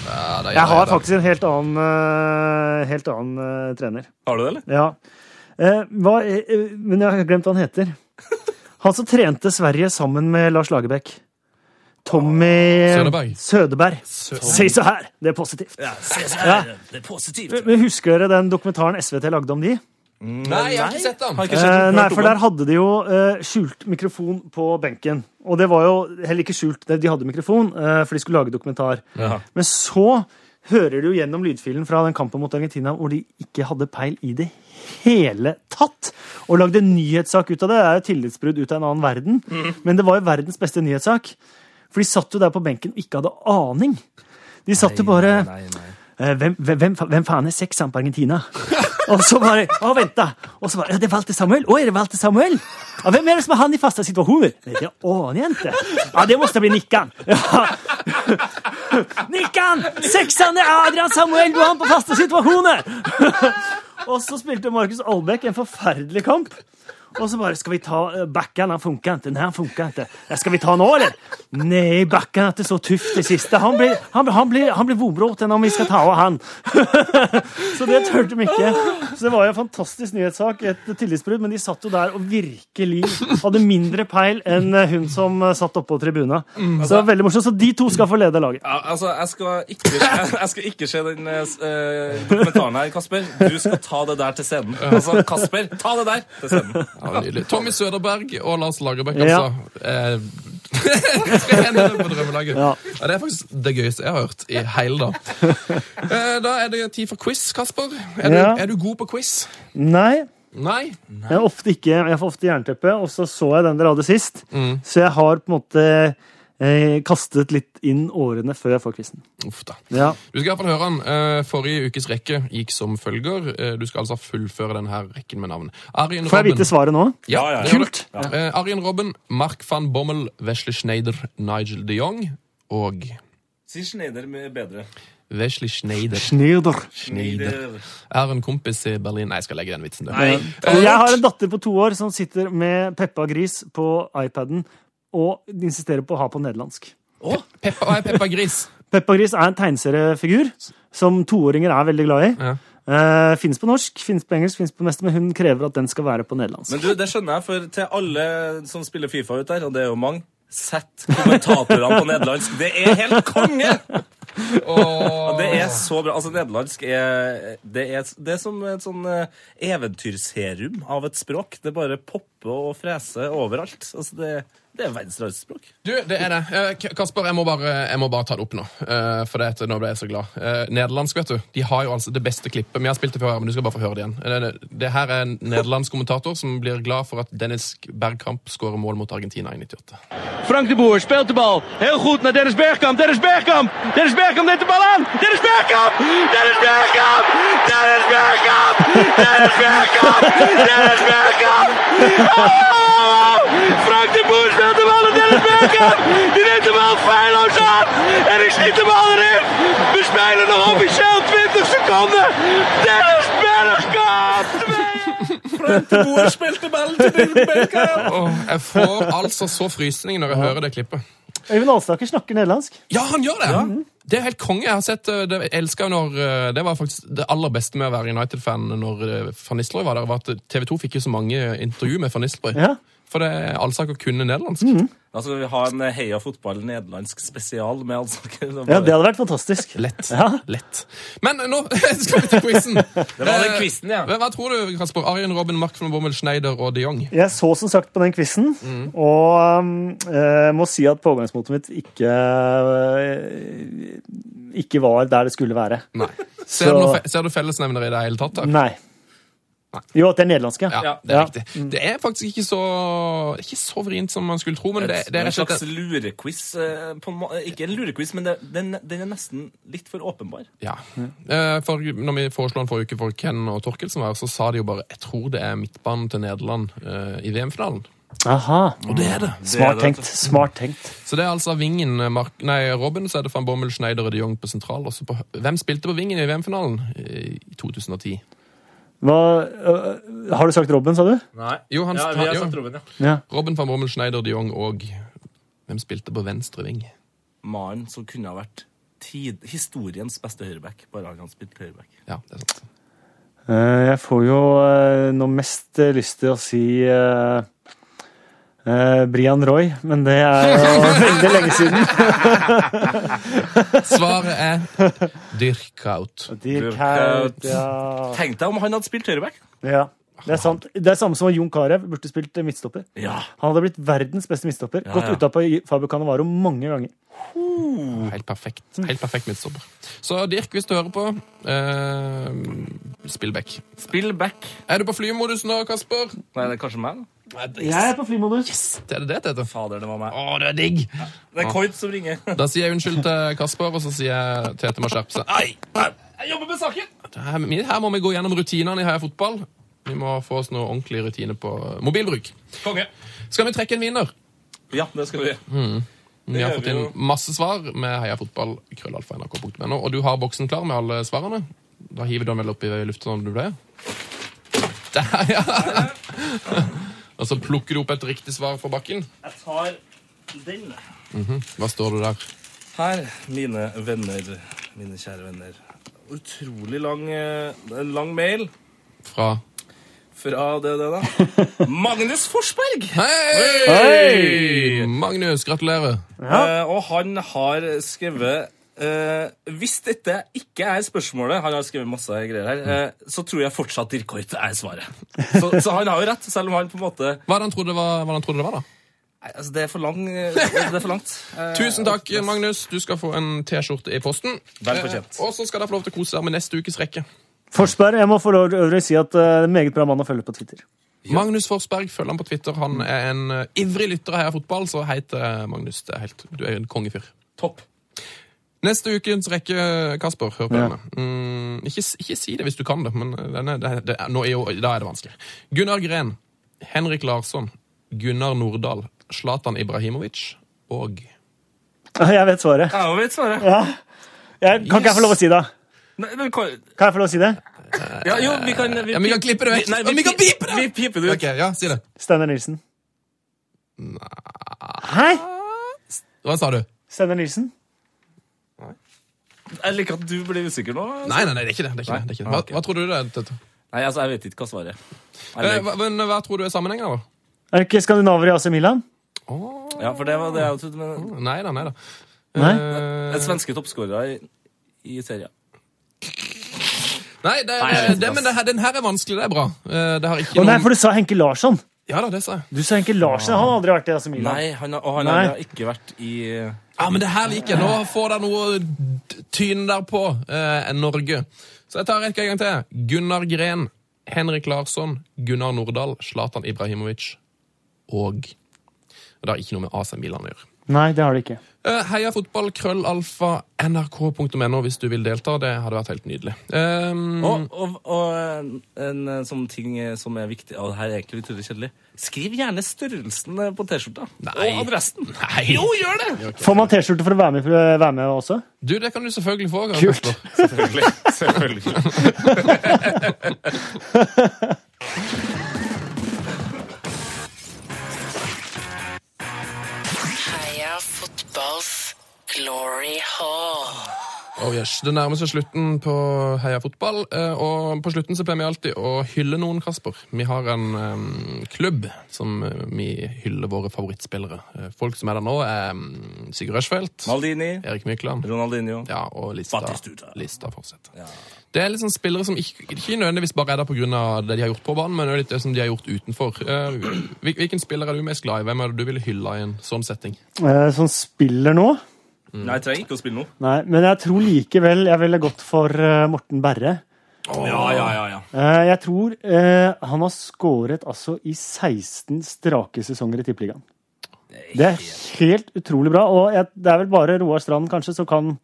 Speaker 4: Ja, det gjør
Speaker 6: Jeg har
Speaker 4: da.
Speaker 6: faktisk en helt annen, eh, helt annen eh, trener.
Speaker 3: Har du det, eller?
Speaker 6: Ja. Eh, hva, eh, eh, men jeg har glemt hva han heter. Han som trente Sverige sammen med Lars Lagerbäck. Tommy
Speaker 4: Søderberg.
Speaker 6: Søderberg. Si så her! Det er positivt. Ja.
Speaker 3: Det er positivt.
Speaker 6: Men Husker dere den dokumentaren SVT lagde om de?
Speaker 4: Nei, jeg har ikke sett den.
Speaker 3: Har ikke
Speaker 6: Eh,
Speaker 3: sett
Speaker 6: nei,
Speaker 3: hørt om
Speaker 6: for der
Speaker 3: den.
Speaker 6: hadde de jo eh, skjult mikrofon på benken. Og det var jo heller ikke skjult, det, de hadde mikrofon, eh, for de skulle lage dokumentar.
Speaker 3: Ja.
Speaker 6: Men så hører du jo gjennom lydfilen fra den kampen mot Argentina hvor de ikke hadde peil i det hele tatt. Og lagde en nyhetssak ut av det. Det er jo tillitsbrudd ut av en annen verden.
Speaker 3: Mm.
Speaker 6: Men det var jo verdens beste nyhetssak. For de satt jo der på benken og ikke hadde aning. De satt jo bare
Speaker 3: Nei, nei.
Speaker 6: Eh, hvem, hvem, hvem, fa- hvem faen er sekseren på Argentina? Og så bare Å, vent, da! Og så bare Ja, det er Walter Samuel! Å, er det Walter Samuel? Ja, hvem er det som er han i faste situasjoner? Nei, Det aner jeg ikke. Ja, det måtte bli Nikkan. Ja. (laughs) Nikkan! Sekseren er Adrian Samuel, du har han på faste situasjoner! (laughs) Og så spilte Markus Albeck en forferdelig kamp. Og så bare Skal vi ta eh, Bakkan? Han funka ikke. Nei, han funka ikke. Ja, skal vi ta han nå, eller? Nei, Bakkan er ikke så tøff det siste. Han blir, han, han blir, han blir vobråten om vi skal ta av han. (laughs) så det turte de ikke. Så det var jo en fantastisk nyhetssak, et tillitsbrudd, men de satt jo der og virkelig hadde mindre peil enn eh, hun som eh, satt oppe på tribuna. Så det var veldig morsomt. Så de to skal få lede laget.
Speaker 3: Ja, altså, jeg skal ikke, jeg, jeg skal ikke se (laughs) den eh, s- eh, kommentaren her, Kasper. Du skal ta det der til scenen. Altså, Kasper, ta det der til scenen.
Speaker 4: Ja, nydelig. Tommy Søderberg og Lars Lagerbäck,
Speaker 6: Ja.
Speaker 4: altså. Eh, (laughs) trenere på drømmelaget.
Speaker 6: Ja.
Speaker 4: Ja, det er faktisk det gøyeste jeg har hørt i hele dag. Eh, da er det tid for quiz, Kasper. Er du,
Speaker 6: Ja.
Speaker 4: er du god på quiz?
Speaker 6: Nei,
Speaker 4: Nei?
Speaker 6: Jeg, er ofte ikke, jeg får ofte jernteppe, og så så jeg den dere hadde sist. Så jeg har på en måte eh, kastet litt inn årene før jeg får quizen.
Speaker 4: Uff da.
Speaker 6: Ja.
Speaker 4: Du skal i hvert fall høre den. Eh, Forrige ukes rekke gikk som følger. Eh, Du skal altså fullføre denne rekken med navn. Arjen
Speaker 6: Får jeg
Speaker 4: Robben-
Speaker 6: vite svaret nå?
Speaker 4: Ja,
Speaker 3: Ja, ja, ja.
Speaker 4: det gjør det.
Speaker 6: Kult.
Speaker 4: Eh, Arjen Robben, Mark van Bommel, Wesley Schneider, Nigel de Jong og
Speaker 3: Si Schneider med bedre.
Speaker 4: Wesley Schneider.
Speaker 6: Schneider.
Speaker 3: Schneider.
Speaker 4: Er en kompis i Berlin Nei, jeg skal legge den vitsen død.
Speaker 3: Nei.
Speaker 6: Og Eh, jeg har en datter på to år som sitter med Peppa Gris på iPaden og insisterer på å ha på nederlandsk.
Speaker 4: Å, Peppa, hva er Peppa Gris?
Speaker 6: Peppa Gris er en tegneseriefigur som toåringer er veldig glad i.
Speaker 4: Ja.
Speaker 6: Eh, finnes på norsk, finnes på engelsk, finnes på mest, men hun krever at den skal være på nederlandsk.
Speaker 3: Men du, det skjønner jeg, for til alle som spiller Fifa ut der, og det er jo mange, sett kommentatorene på nederlandsk. Det er helt konge! Og det er så bra. Altså, nederlandsk er Det er, det er som et sånn eh, eventyrserum av et språk. Det bare popper og freser overalt. Altså, det, det er verdens rareste språk.
Speaker 4: Du, det er det. Eh, K- Kasper, jeg må bare, jeg må bare ta det opp nå. eh, For det, at nå ble jeg så glad. Eh, Nederlandsk, vet du. De har jo altså det beste klippet. Vi har spilt det før, men du skal bare få høre det igjen. Eh, Det, det, det her er en nederlandsk kommentator som blir glad for at Dennis Bergkamp skårer mål mot Argentina i 98.
Speaker 1: Frank de Boer speelt de bal. Heel goed naar Dennis Bergkamp. Dennis Bergkamp. Dennis Bergkamp neemt de bal aan. Dennis Bergkamp. Dennis Bergkamp. Dennis Bergkamp. Dennis Bergkamp. Dennis Bergkamp. Oh! Frank de Boer speelt de bal naar Dennis Bergkamp. Die neemt de bal feilloos aan. En ik schiet de bal erin. We spelen nog officieel 20 seconden. Dennis Bergkamp.
Speaker 3: Boer spilte ballen til Bergkamp!
Speaker 4: Åh, jeg får altså så frysninger når jeg hører det klippet.
Speaker 6: Øyvind Alstaker snakker nederlandsk.
Speaker 4: Ja, han gjør det! Det er helt konge. Jeg har sett, eh, det, jeg elsker jo når, eh, det var faktisk det aller beste med å være United-fan når eh, van Nistelrooy var der, var at TV 2 fikk jo så mange intervju med van Nistelrooy.
Speaker 6: Ja.
Speaker 4: For det er Alsaker kun nederlandsk.
Speaker 3: Da skal vi ha en eh, Heia fotball nederlandsk spesial med Alsaker. Det var-
Speaker 6: Ja, det hadde vært fantastisk.
Speaker 4: Lett.
Speaker 6: Ja.
Speaker 4: Lett. Men nå (laughs) skal vi til quizen.
Speaker 3: (laughs)
Speaker 4: Eh,
Speaker 3: Det var den quizen, ja.
Speaker 4: Hva, hva tror du, Kasper? Arjen Robben, Mark van Bommel, Schneider og de Jong?
Speaker 6: Jeg så som sagt på den quizen,
Speaker 4: Mm.
Speaker 6: og um, eh, må si at pågangsmotet mitt ikke eh, Ikke var der det skulle være.
Speaker 3: (laughs)
Speaker 4: Nei. Ser,
Speaker 6: Så-
Speaker 4: du noe fe- ser du fellesnevnere i det hele tatt? da?
Speaker 6: Nei. Jo, at det er nederlandske.
Speaker 4: Ja, det er
Speaker 6: Ja.
Speaker 4: riktig. Det er faktisk ikke så, ikke så vrient som man skulle tro, men det, det er
Speaker 3: en
Speaker 4: rett og
Speaker 3: slags
Speaker 4: slett
Speaker 3: lurequiz. eh, På en må ikke en lurequiz, men det, den, den er nesten litt for åpenbar.
Speaker 4: Ja. Eh, For når vi foreslo den forrige uke for Ken og Torkel, som var, her, så sa de jo bare jeg tror det er midtbanen til Nederland eh, i VM-finalen.
Speaker 6: Aha.
Speaker 4: Og det er det. altså.
Speaker 6: Smart tenkt. Smart tenkt.
Speaker 4: Så det er altså vingen eh, Mark, nei, Robben, så er det van Bommel, Schneider og de Jong på sentral. og så på, hø- hvem spilte på vingen i VM-finalen eh, i 2010?
Speaker 6: Hva, øh, har du sagt Robben, sa du?
Speaker 7: Nei.
Speaker 4: Jo, han-
Speaker 7: ja, vi
Speaker 4: han-
Speaker 7: har
Speaker 4: jo.
Speaker 7: sagt Robin, ja.
Speaker 6: Ja.
Speaker 4: Robben, van Bommel, Schneider, de Jong og Hvem spilte på venstre ving?
Speaker 3: Mannen som kunne ha vært tid, historiens beste høyreback. Bare han har spilt høyreback.
Speaker 4: Ja, det er sant.
Speaker 6: Eh, Jeg får jo eh, nå mest eh, lyst til å si eh, eh, Brian Roy, men det er jo (laughs) veldig lenge siden.
Speaker 4: Svaret (laughs) er Dyrkaut.
Speaker 3: Burkhardt.
Speaker 6: ja.
Speaker 3: Tenk deg om han hadde spilt høyreback!
Speaker 6: ja. Det er sant. Det er samme som Jon Carew burde spilt eh, midtstopper.
Speaker 3: Ja.
Speaker 6: Han hadde blitt verdens beste midtstopper.
Speaker 3: Ja,
Speaker 6: Gått
Speaker 3: ja.
Speaker 6: utapå i Fabio Cannavaro mange ganger.
Speaker 4: Helt perfekt. Helt perfekt midtstopper. Så Dirk, hvis du hører på, eh, spill back.
Speaker 3: Spill back.
Speaker 4: Er du på flymodusen da, Kasper?
Speaker 3: Nei, det er kanskje meg, da.
Speaker 6: Jeg er på flymodus.
Speaker 4: Det er det det det heter.
Speaker 3: Fader, det var meg.
Speaker 4: Å, det er digg!
Speaker 3: Det er Koit som ringer.
Speaker 4: Da sier jeg unnskyld til Kasper, og så sier jeg Tete må skjerpe seg. Ai, au.
Speaker 3: Jeg jobber med saken!
Speaker 4: Det Her, her må vi gå gjennom rutinene i Heia Fotball. Vi må få oss noe ordentlig rutine på mobilbruk.
Speaker 3: Konge.
Speaker 4: Skal vi trekke en vinner?
Speaker 3: Ja, det skal vi gjøre.
Speaker 4: Vi har
Speaker 3: gjør
Speaker 4: fått
Speaker 3: vi
Speaker 4: inn
Speaker 3: jo.
Speaker 4: masse svar med heiafotball.krøllalfa.nrk.no. Og du har boksen klar med alle svarene? Da hiver du den vel opp i lufta som du pleier? Der, ja! (laughs) Og så plukker du opp et riktig svar fra bakken. Mhm.
Speaker 3: Jeg tar den.
Speaker 4: Hva står det der?
Speaker 3: Her, mine venner, mine kjære venner. Utrolig lang, eh, en lang mail
Speaker 4: Fra
Speaker 3: fra det,
Speaker 4: (laughs)
Speaker 3: det da. Magnus Forsberg!
Speaker 4: Hei!
Speaker 6: Hei!
Speaker 4: Magnus, gratulerer.
Speaker 3: Eh, og han har skrevet eh, Hvis dette ikke er spørsmålet Han har skrevet masse greier her. eh, så tror jeg fortsatt Dirk Hoit er svaret. Så, så han har jo rett, selv om han på en måte
Speaker 4: Hva er det han trodde det var, hva er det han trodde det var da?
Speaker 3: Nei, altså, Det er for, lang, eh, det er for langt. Eh,
Speaker 4: Tusen takk, Magnus. Du skal få en T-skjorte i posten.
Speaker 3: Vel fortjent.
Speaker 4: Eh, Og så skal dere få lov til å kose deg med neste ukes rekke.
Speaker 6: Forsberg, jeg må for øvrig si at eh, meget bra mann å følge på Twitter. (laughs)
Speaker 4: Magnus Forsberg, følg ham på Twitter. Han er en eh, ivrig lytter av Heia Fotball, så hei til eh, Magnus. Det er helt, du er en kongefyr.
Speaker 3: Topp.
Speaker 4: Neste ukens rekke, Kasper, hør på
Speaker 6: Ja.
Speaker 4: denne. Mm, ikke, s- ikke si det hvis du kan det, men eh, denne, det, det, er- nå er jo, da er det vanskelig. Gunnar Gren, Henrik Larsson, Gunnar Nordahl, Zlatan Ibrahimovic og
Speaker 6: Ah, Jeg vet svaret.
Speaker 3: Jeg vet svaret.
Speaker 6: Jeg, kan ikke jeg få lov å si det?
Speaker 3: Nei, men hva-
Speaker 6: Kan jeg få lov å si det?
Speaker 3: Ja, jo, vi kan
Speaker 4: Ja, vi kan klippe det vekk.
Speaker 3: Nei,
Speaker 4: Og vi kan
Speaker 3: pi-
Speaker 4: pipe det!
Speaker 3: Vi piper det ut.
Speaker 4: Ok, ja, si det.
Speaker 6: Steinar Nilsen. Nei. Hæ?
Speaker 4: Hva sa du?
Speaker 6: Steinar Nilsen?
Speaker 3: Jeg liker at du blir usikker nå.
Speaker 4: Nei, nei, nei, det er ikke det. det, er ikke det, det, er ikke det. Hva, hva tror du det er, Tete?
Speaker 3: Nei, altså, jeg vet ikke hva svaret er.
Speaker 4: Eh,
Speaker 3: Eller,
Speaker 4: hva- Men hva tror du er sammenhengen, da?
Speaker 6: Er det ikke skandinaver i AC Milan?
Speaker 3: ja, for det var det jeg trodde. Men
Speaker 4: Nei da, nei da.
Speaker 6: Nei?
Speaker 3: Eh, svenske toppskårere i, i serien.
Speaker 4: Nei, det,
Speaker 3: Nei, jeg vet ikke,
Speaker 4: det, men det, her- den her er vanskelig. Det er bra. Eh, Det har ikke
Speaker 6: Å nei,
Speaker 4: noen-
Speaker 6: for du sa Henke Larsson.
Speaker 4: Ja da, det sa jeg.
Speaker 6: Du sa Henke Larsen, Han har aldri vært i AC Milan.
Speaker 3: Nei, han, har- og han
Speaker 6: Nei.
Speaker 3: har ikke vært i
Speaker 4: Ja, men det her liker jeg. Nå får dere noe d- tyn der på eh, Norge. Så jeg tar rekke en gang til. Gunnar Gren, Henrik Larsson, Gunnar Nordahl, Zlatan Ibrahimovic og Det har ikke noe med AC Milan å gjøre.
Speaker 6: Nei, det har det ikke.
Speaker 4: Eh, Heia fotball, krøllalfa, nrk.no hvis du vil delta. Det hadde vært helt nydelig. Um,
Speaker 3: Og, og, og en, en sånn ting eh, som er viktig Og det her er egentlig utrolig kjedelig. Skriv gjerne størrelsen eh, på T-skjorta.
Speaker 4: Nei.
Speaker 3: Og adressen.
Speaker 4: Nei.
Speaker 3: Jo, gjør det!
Speaker 6: Får man T-skjorte for å være med, være med også?
Speaker 4: Du, det kan du selvfølgelig få. Karl
Speaker 6: Kult.
Speaker 4: Kasper.
Speaker 3: Selvfølgelig. Selvfølgelig.
Speaker 8: Heia fotballs glory hall.
Speaker 4: Oh yes, Det nærmer seg slutten på Heia fotball. eh, Og på slutten så pleier vi alltid å hylle noen, Kasper. Vi har en eh, klubb som eh, vi hyller våre favorittspillere. Eh, Folk som er der nå, er mm, Sigurd Rushfeldt,
Speaker 3: Maldini,
Speaker 4: Erik Mykland
Speaker 3: Ronaldinho.
Speaker 4: ja, og lista,
Speaker 3: Batistuta.
Speaker 4: lista fortsetter. Det er liksom spillere som ikke, ikke nødvendigvis bare er der pga. det de har gjort på banen, men også litt det som de har gjort utenfor. Eh, hvil- Hvilken spiller er du mest glad i? Hvem er det du ville hylla i en sånn setting?
Speaker 6: Eh, Som spiller nå?
Speaker 3: Nei, jeg trenger ikke å spille noe.
Speaker 6: Nei, men jeg tror likevel jeg ville gått for eh, Morten Berre.
Speaker 3: Ja, ja, ja, ja.
Speaker 6: Eh, Jeg tror eh, han har skåret altså i 16 strake sesonger i Tippeligaen. Det er helt utrolig bra, og jeg, det er vel bare Roar Strand kanskje som kan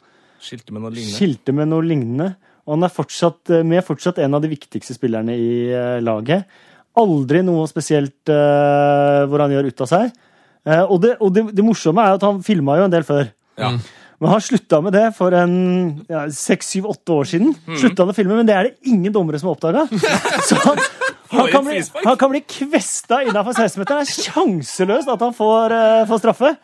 Speaker 3: Skilte med noe lignende.
Speaker 6: skilte med noe lignende. Og han er fortsatt, eh, med fortsatt en av de viktigste spillerne i eh, laget. Aldri noe spesielt eh, hvor han gjør ut av seg. Eh, og det, og det, det morsomme er at han filma jo en del før.
Speaker 3: Ja.
Speaker 6: Men han slutta med det for en ja, seks, syv, åtte år siden.
Speaker 3: Mm.
Speaker 6: Slutta han å filme, Men det er det ingen dommere som har oppdaga.
Speaker 3: (laughs)
Speaker 6: Så han, han, kan bli,
Speaker 3: frispark.
Speaker 6: han kan bli kvesta innafor 16-meteren. Det er sjanseløst at han får, eh, får straffe.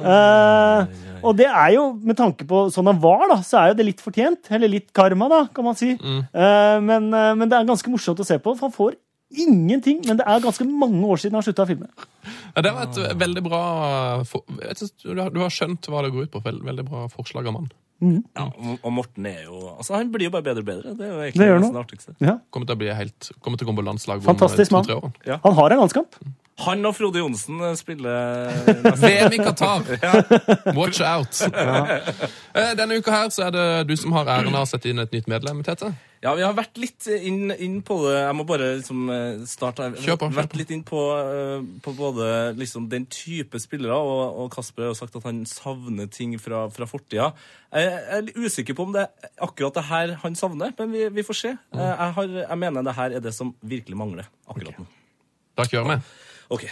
Speaker 6: Eh, og det er jo, med tanke på sånn han var, da, så er jo det litt fortjent. Eller litt karma, da, kan man si.
Speaker 3: Mm.
Speaker 6: Eh, men, eh, men det er ganske morsomt å se på, for han får ingenting. Men det er ganske mange år siden han slutta å filme.
Speaker 4: Ja, det var et veldig bra for, jeg synes du, har, du har skjønt hva det går ut på. Veld, veldig bra forslag av mann.
Speaker 3: Ja, og- og Morten er jo Altså, han blir jo bare bedre og bedre. Det er jo
Speaker 6: Det
Speaker 3: egentlig
Speaker 6: gjør
Speaker 3: nesten
Speaker 6: han.
Speaker 3: det artigste.
Speaker 4: Kommer til å, bli helt, kommer til å komme på landslag eh,
Speaker 6: Fantastisk mann.
Speaker 4: to-tre år.
Speaker 6: Han har en landskamp.
Speaker 3: Han og Frode Johnsen eh,
Speaker 6: (laughs)
Speaker 3: spiller nesten-
Speaker 4: VM i Qatar! Watch out! Eh, Denne uka her så er det du som har æren av å sette inn et nytt medlem, Tete.
Speaker 3: Ja, vi har vært litt eh, inn, inn på det. Jeg må bare liksom eh, starte her.
Speaker 4: Kjør på, kjør
Speaker 3: Vært
Speaker 4: på.
Speaker 3: litt inn på, eh, på både liksom den type spillere, og, og Kasper har jo sagt at han savner ting fra, fra fortida. Jeg er litt usikker på om det er akkurat det her han savner, men vi, vi får se.
Speaker 4: Mm.
Speaker 3: Eh, Jeg, har, jeg mener det her er det som virkelig mangler akkurat nå.
Speaker 4: Da kjører vi.
Speaker 3: Ok.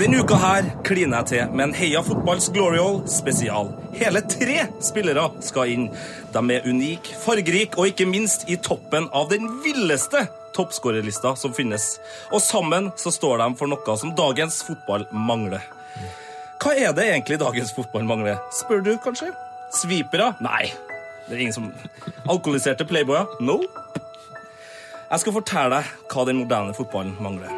Speaker 3: Denne uka her kliner jeg til med en Heia fotballs Glory Hall spesial. Hele tre spillere skal inn. De er unike, fargerike og ikke minst i toppen av den villeste toppskårerlista som finnes. Og sammen så står de for noe som dagens fotball mangler. Hva er det egentlig dagens fotball mangler? Spør du, kanskje? Svipere? Nei. Det er ingen som Alkoholiserte playboyer? No. Jeg skal fortelle deg hva den moderne fotballen mangler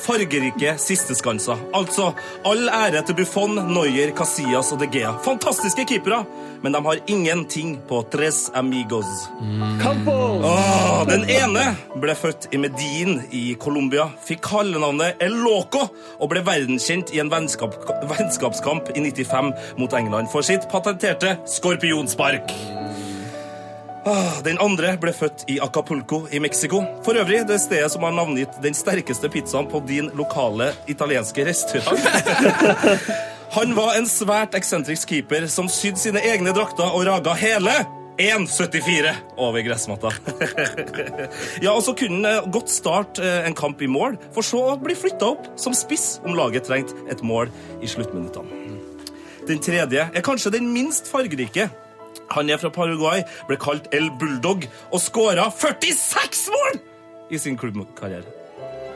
Speaker 3: fargerike sisteskanser. Altså all ære til Buffon, Neuer, Casillas og De Gea. Fantastiske keepere, men de har ingenting på Tres Amigos. Åh, den ene ble født i Medin i Colombia, fikk kallenavnet El Loco og ble verdenskjent i en vennskap, vennskapskamp i 95 mot England for sitt patenterte skorpionspark. Ah, Den andre ble født i Acapulco i Mexico. For øvrig det stedet som har navngitt den sterkeste pizzaen på din lokale italienske restaurant. Han var en svært eksentrisk keeper som sydde sine egne drakter og raga hele 1,74 over gressmatta. (laughs) ja, og så kunne han eh, godt starte eh, en kamp i mål, for så å bli flytta opp som spiss om laget trengte et mål i sluttminuttene. Den tredje er kanskje den minst fargerike. Han er fra Paraguay, ble kalt El Bulldog og skåra 46 mål i sin klubbkarriere.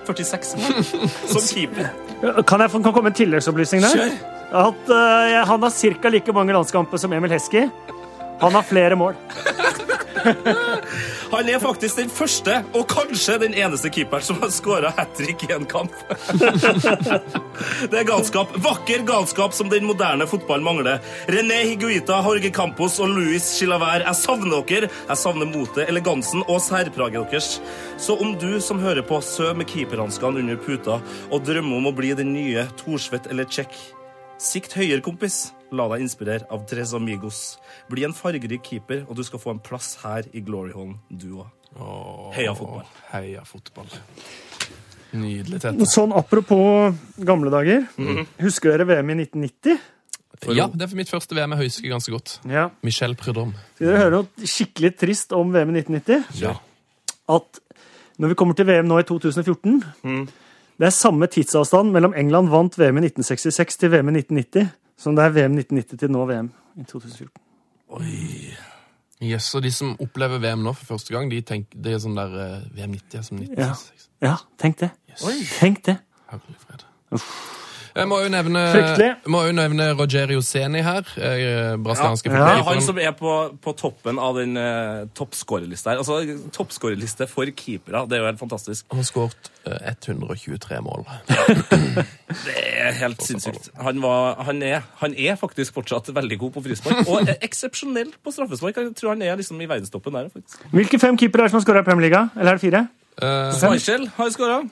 Speaker 3: 46 mål som keeper.
Speaker 6: Kan jeg få kan komme en tilleggsopplysning der?
Speaker 3: Kjør.
Speaker 6: At eh, Han har ca. like mange landskamper som Emil Heski. Han har flere mål.
Speaker 3: Han er faktisk den første og kanskje den eneste keeperen som har skåra hat trick i en kamp. Det er galskap. Vakker galskap som den moderne fotballen mangler. René Higuita, Jorge Campos og Luis Chilaver. Jeg savner dere. Jeg savner motet, elegansen og særpraget deres. Så om du som hører på, søv med keeperhanskene under puta og drømmer om å bli den nye Thorsvedt eller Tsjekk Sikt høyere, kompis. La deg inspirere av Tres Amigos. Bli en fargerik keeper, og du skal få en plass her i Glory Hall, du òg. Heia fotball.
Speaker 4: Heia fotball. Nydelig, Tete.
Speaker 6: Sånn apropos gamle dager. Husker dere VM i 1990?
Speaker 4: Ja, det er for mitt første VM jeg husker ganske godt.
Speaker 6: Ja.
Speaker 4: Michel Prudhomme.
Speaker 6: Skal dere høre noe skikkelig trist om VM i 1990?
Speaker 4: Ja.
Speaker 6: At når vi kommer til VM nå i 2014 Det er samme tidsavstand mellom England vant VM i 1966 til VM i 1990 som det er VM 1990 til nå VM i 2014.
Speaker 4: Yes, og de som opplever VM nå for første gang, de tenker, det er sånn der eh, VM 90 er som 96.
Speaker 6: Ja, tenk det. Tenk det.
Speaker 4: Herlig fred. Jeg må jo nevne,
Speaker 6: Fryktelig.
Speaker 4: må jo nevne Rogerio Seni her. eh, Brasilianske
Speaker 6: Ja.
Speaker 3: Det er han
Speaker 4: fotballkeeperen.
Speaker 3: som er på, på toppen av den uh, toppskårerlista her. Altså, toppskårerliste for keepere. Det er jo helt fantastisk.
Speaker 4: Han har skåret eh, 123 mål.
Speaker 3: Det er helt sinnssykt. Han, var, han, er, han er faktisk fortsatt veldig god på frispark, og er eksepsjonell på straffespark. Jeg tror han er liksom i verdenstoppen der, faktisk.
Speaker 6: Hvilke fem keepere er det som har skåra i Premier League? Eller er det fire?
Speaker 4: Eh,
Speaker 3: Schmeichel har skåra.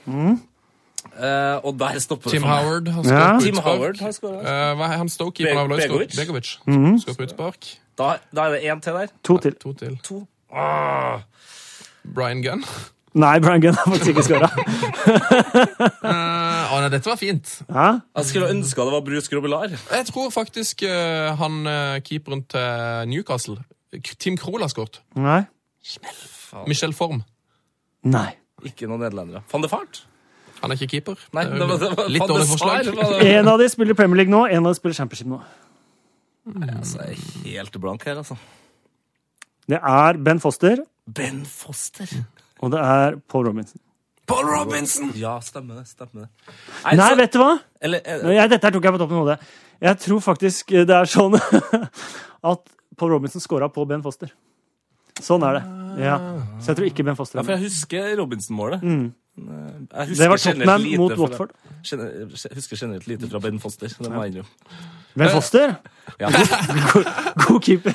Speaker 3: og der stopper det
Speaker 4: Tim
Speaker 3: for meg.
Speaker 4: Howard har
Speaker 6: Ja.
Speaker 4: skåret
Speaker 3: Tim Howard
Speaker 4: utspark.
Speaker 3: har skåra.
Speaker 4: Eh, hva er han Stoke-keeperen
Speaker 3: Be-
Speaker 4: har vel også skåret? Begovic.
Speaker 6: Mhm.
Speaker 4: Skåret på utspark.
Speaker 3: Da, da er det én til der.
Speaker 6: To til.
Speaker 4: To til.
Speaker 3: To. Ah.
Speaker 4: Brian Gunn.
Speaker 6: Nei, Brian Gunn har faktisk ikke skåra. (laughs)
Speaker 4: Eh, å, nei, dette var fint.
Speaker 3: Jeg skulle ønska det var Bruce Grobelar.
Speaker 4: Jeg tror faktisk eh, han eh, keeperen til Newcastle, K- Tim Krohl, har skåret.
Speaker 6: Nei.
Speaker 4: Michel Form.
Speaker 6: Nei.
Speaker 3: Ikke noen nederlendere. Van de Fart?
Speaker 4: Han er ikke keeper.
Speaker 3: Nei,
Speaker 4: Det er
Speaker 3: det
Speaker 4: jo
Speaker 3: var, det var,
Speaker 4: Eh, Litt
Speaker 3: Van de
Speaker 4: dårlig
Speaker 3: Sar
Speaker 4: forslag.
Speaker 3: var det.
Speaker 6: En av de spiller Premier League nå, en av de spiller Championship nå.
Speaker 3: Altså, jeg er helt blank her, altså.
Speaker 6: Det er Ben Foster,
Speaker 3: Ben Foster.
Speaker 6: og det er Paul Robinson.
Speaker 3: Paul Robinson! Ja, stemmer det. stemmer det.
Speaker 6: Nei, vet du hva?
Speaker 3: Eller, eh,
Speaker 6: Jeg, dette her tok jeg på toppen av hodet. Jeg tror faktisk det er sånn (laughs) at Paul Robinson scora på Ben Foster. Sånn er det. Ja. Så jeg tror ikke Ben Foster.
Speaker 3: ja,
Speaker 6: Er
Speaker 3: for
Speaker 6: med.
Speaker 3: jeg husker Robinson-målet. Men, eh, jeg husker
Speaker 6: Mm. Det var
Speaker 3: generelt
Speaker 6: Tottenham
Speaker 3: lite
Speaker 6: mot
Speaker 3: fra-
Speaker 6: Watford.
Speaker 3: gener- Jeg husker generelt lite fra Ben Foster. Det må jeg innrømme.
Speaker 6: Ben Foster?
Speaker 3: Ja.
Speaker 6: (laughs) God, god keeper.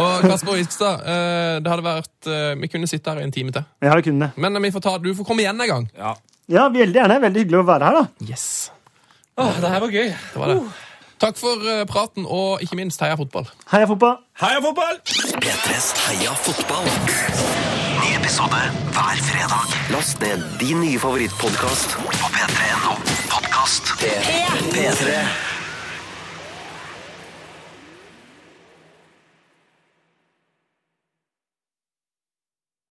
Speaker 4: Og Kasper Iskstad, eh, det hadde vært eh, Vi kunne sitte her en time til.
Speaker 6: Ja, vi kunne det.
Speaker 4: Men eh, vi får ta, du får komme igjen en gang.
Speaker 3: Ja.
Speaker 6: Ja, veldig gjerne. Veldig hyggelig å være her, da.
Speaker 4: Yes.
Speaker 3: Åh, det her var gøy.
Speaker 4: Det var det. Takk for eh, praten, og ikke minst heia fotball.
Speaker 6: Heia fotball!
Speaker 3: Heia fotball!
Speaker 2: P3s Heia fotball. Ny episode hver fredag. Last ned din nye favorittpodkast på p3.no podkast. P3. P3.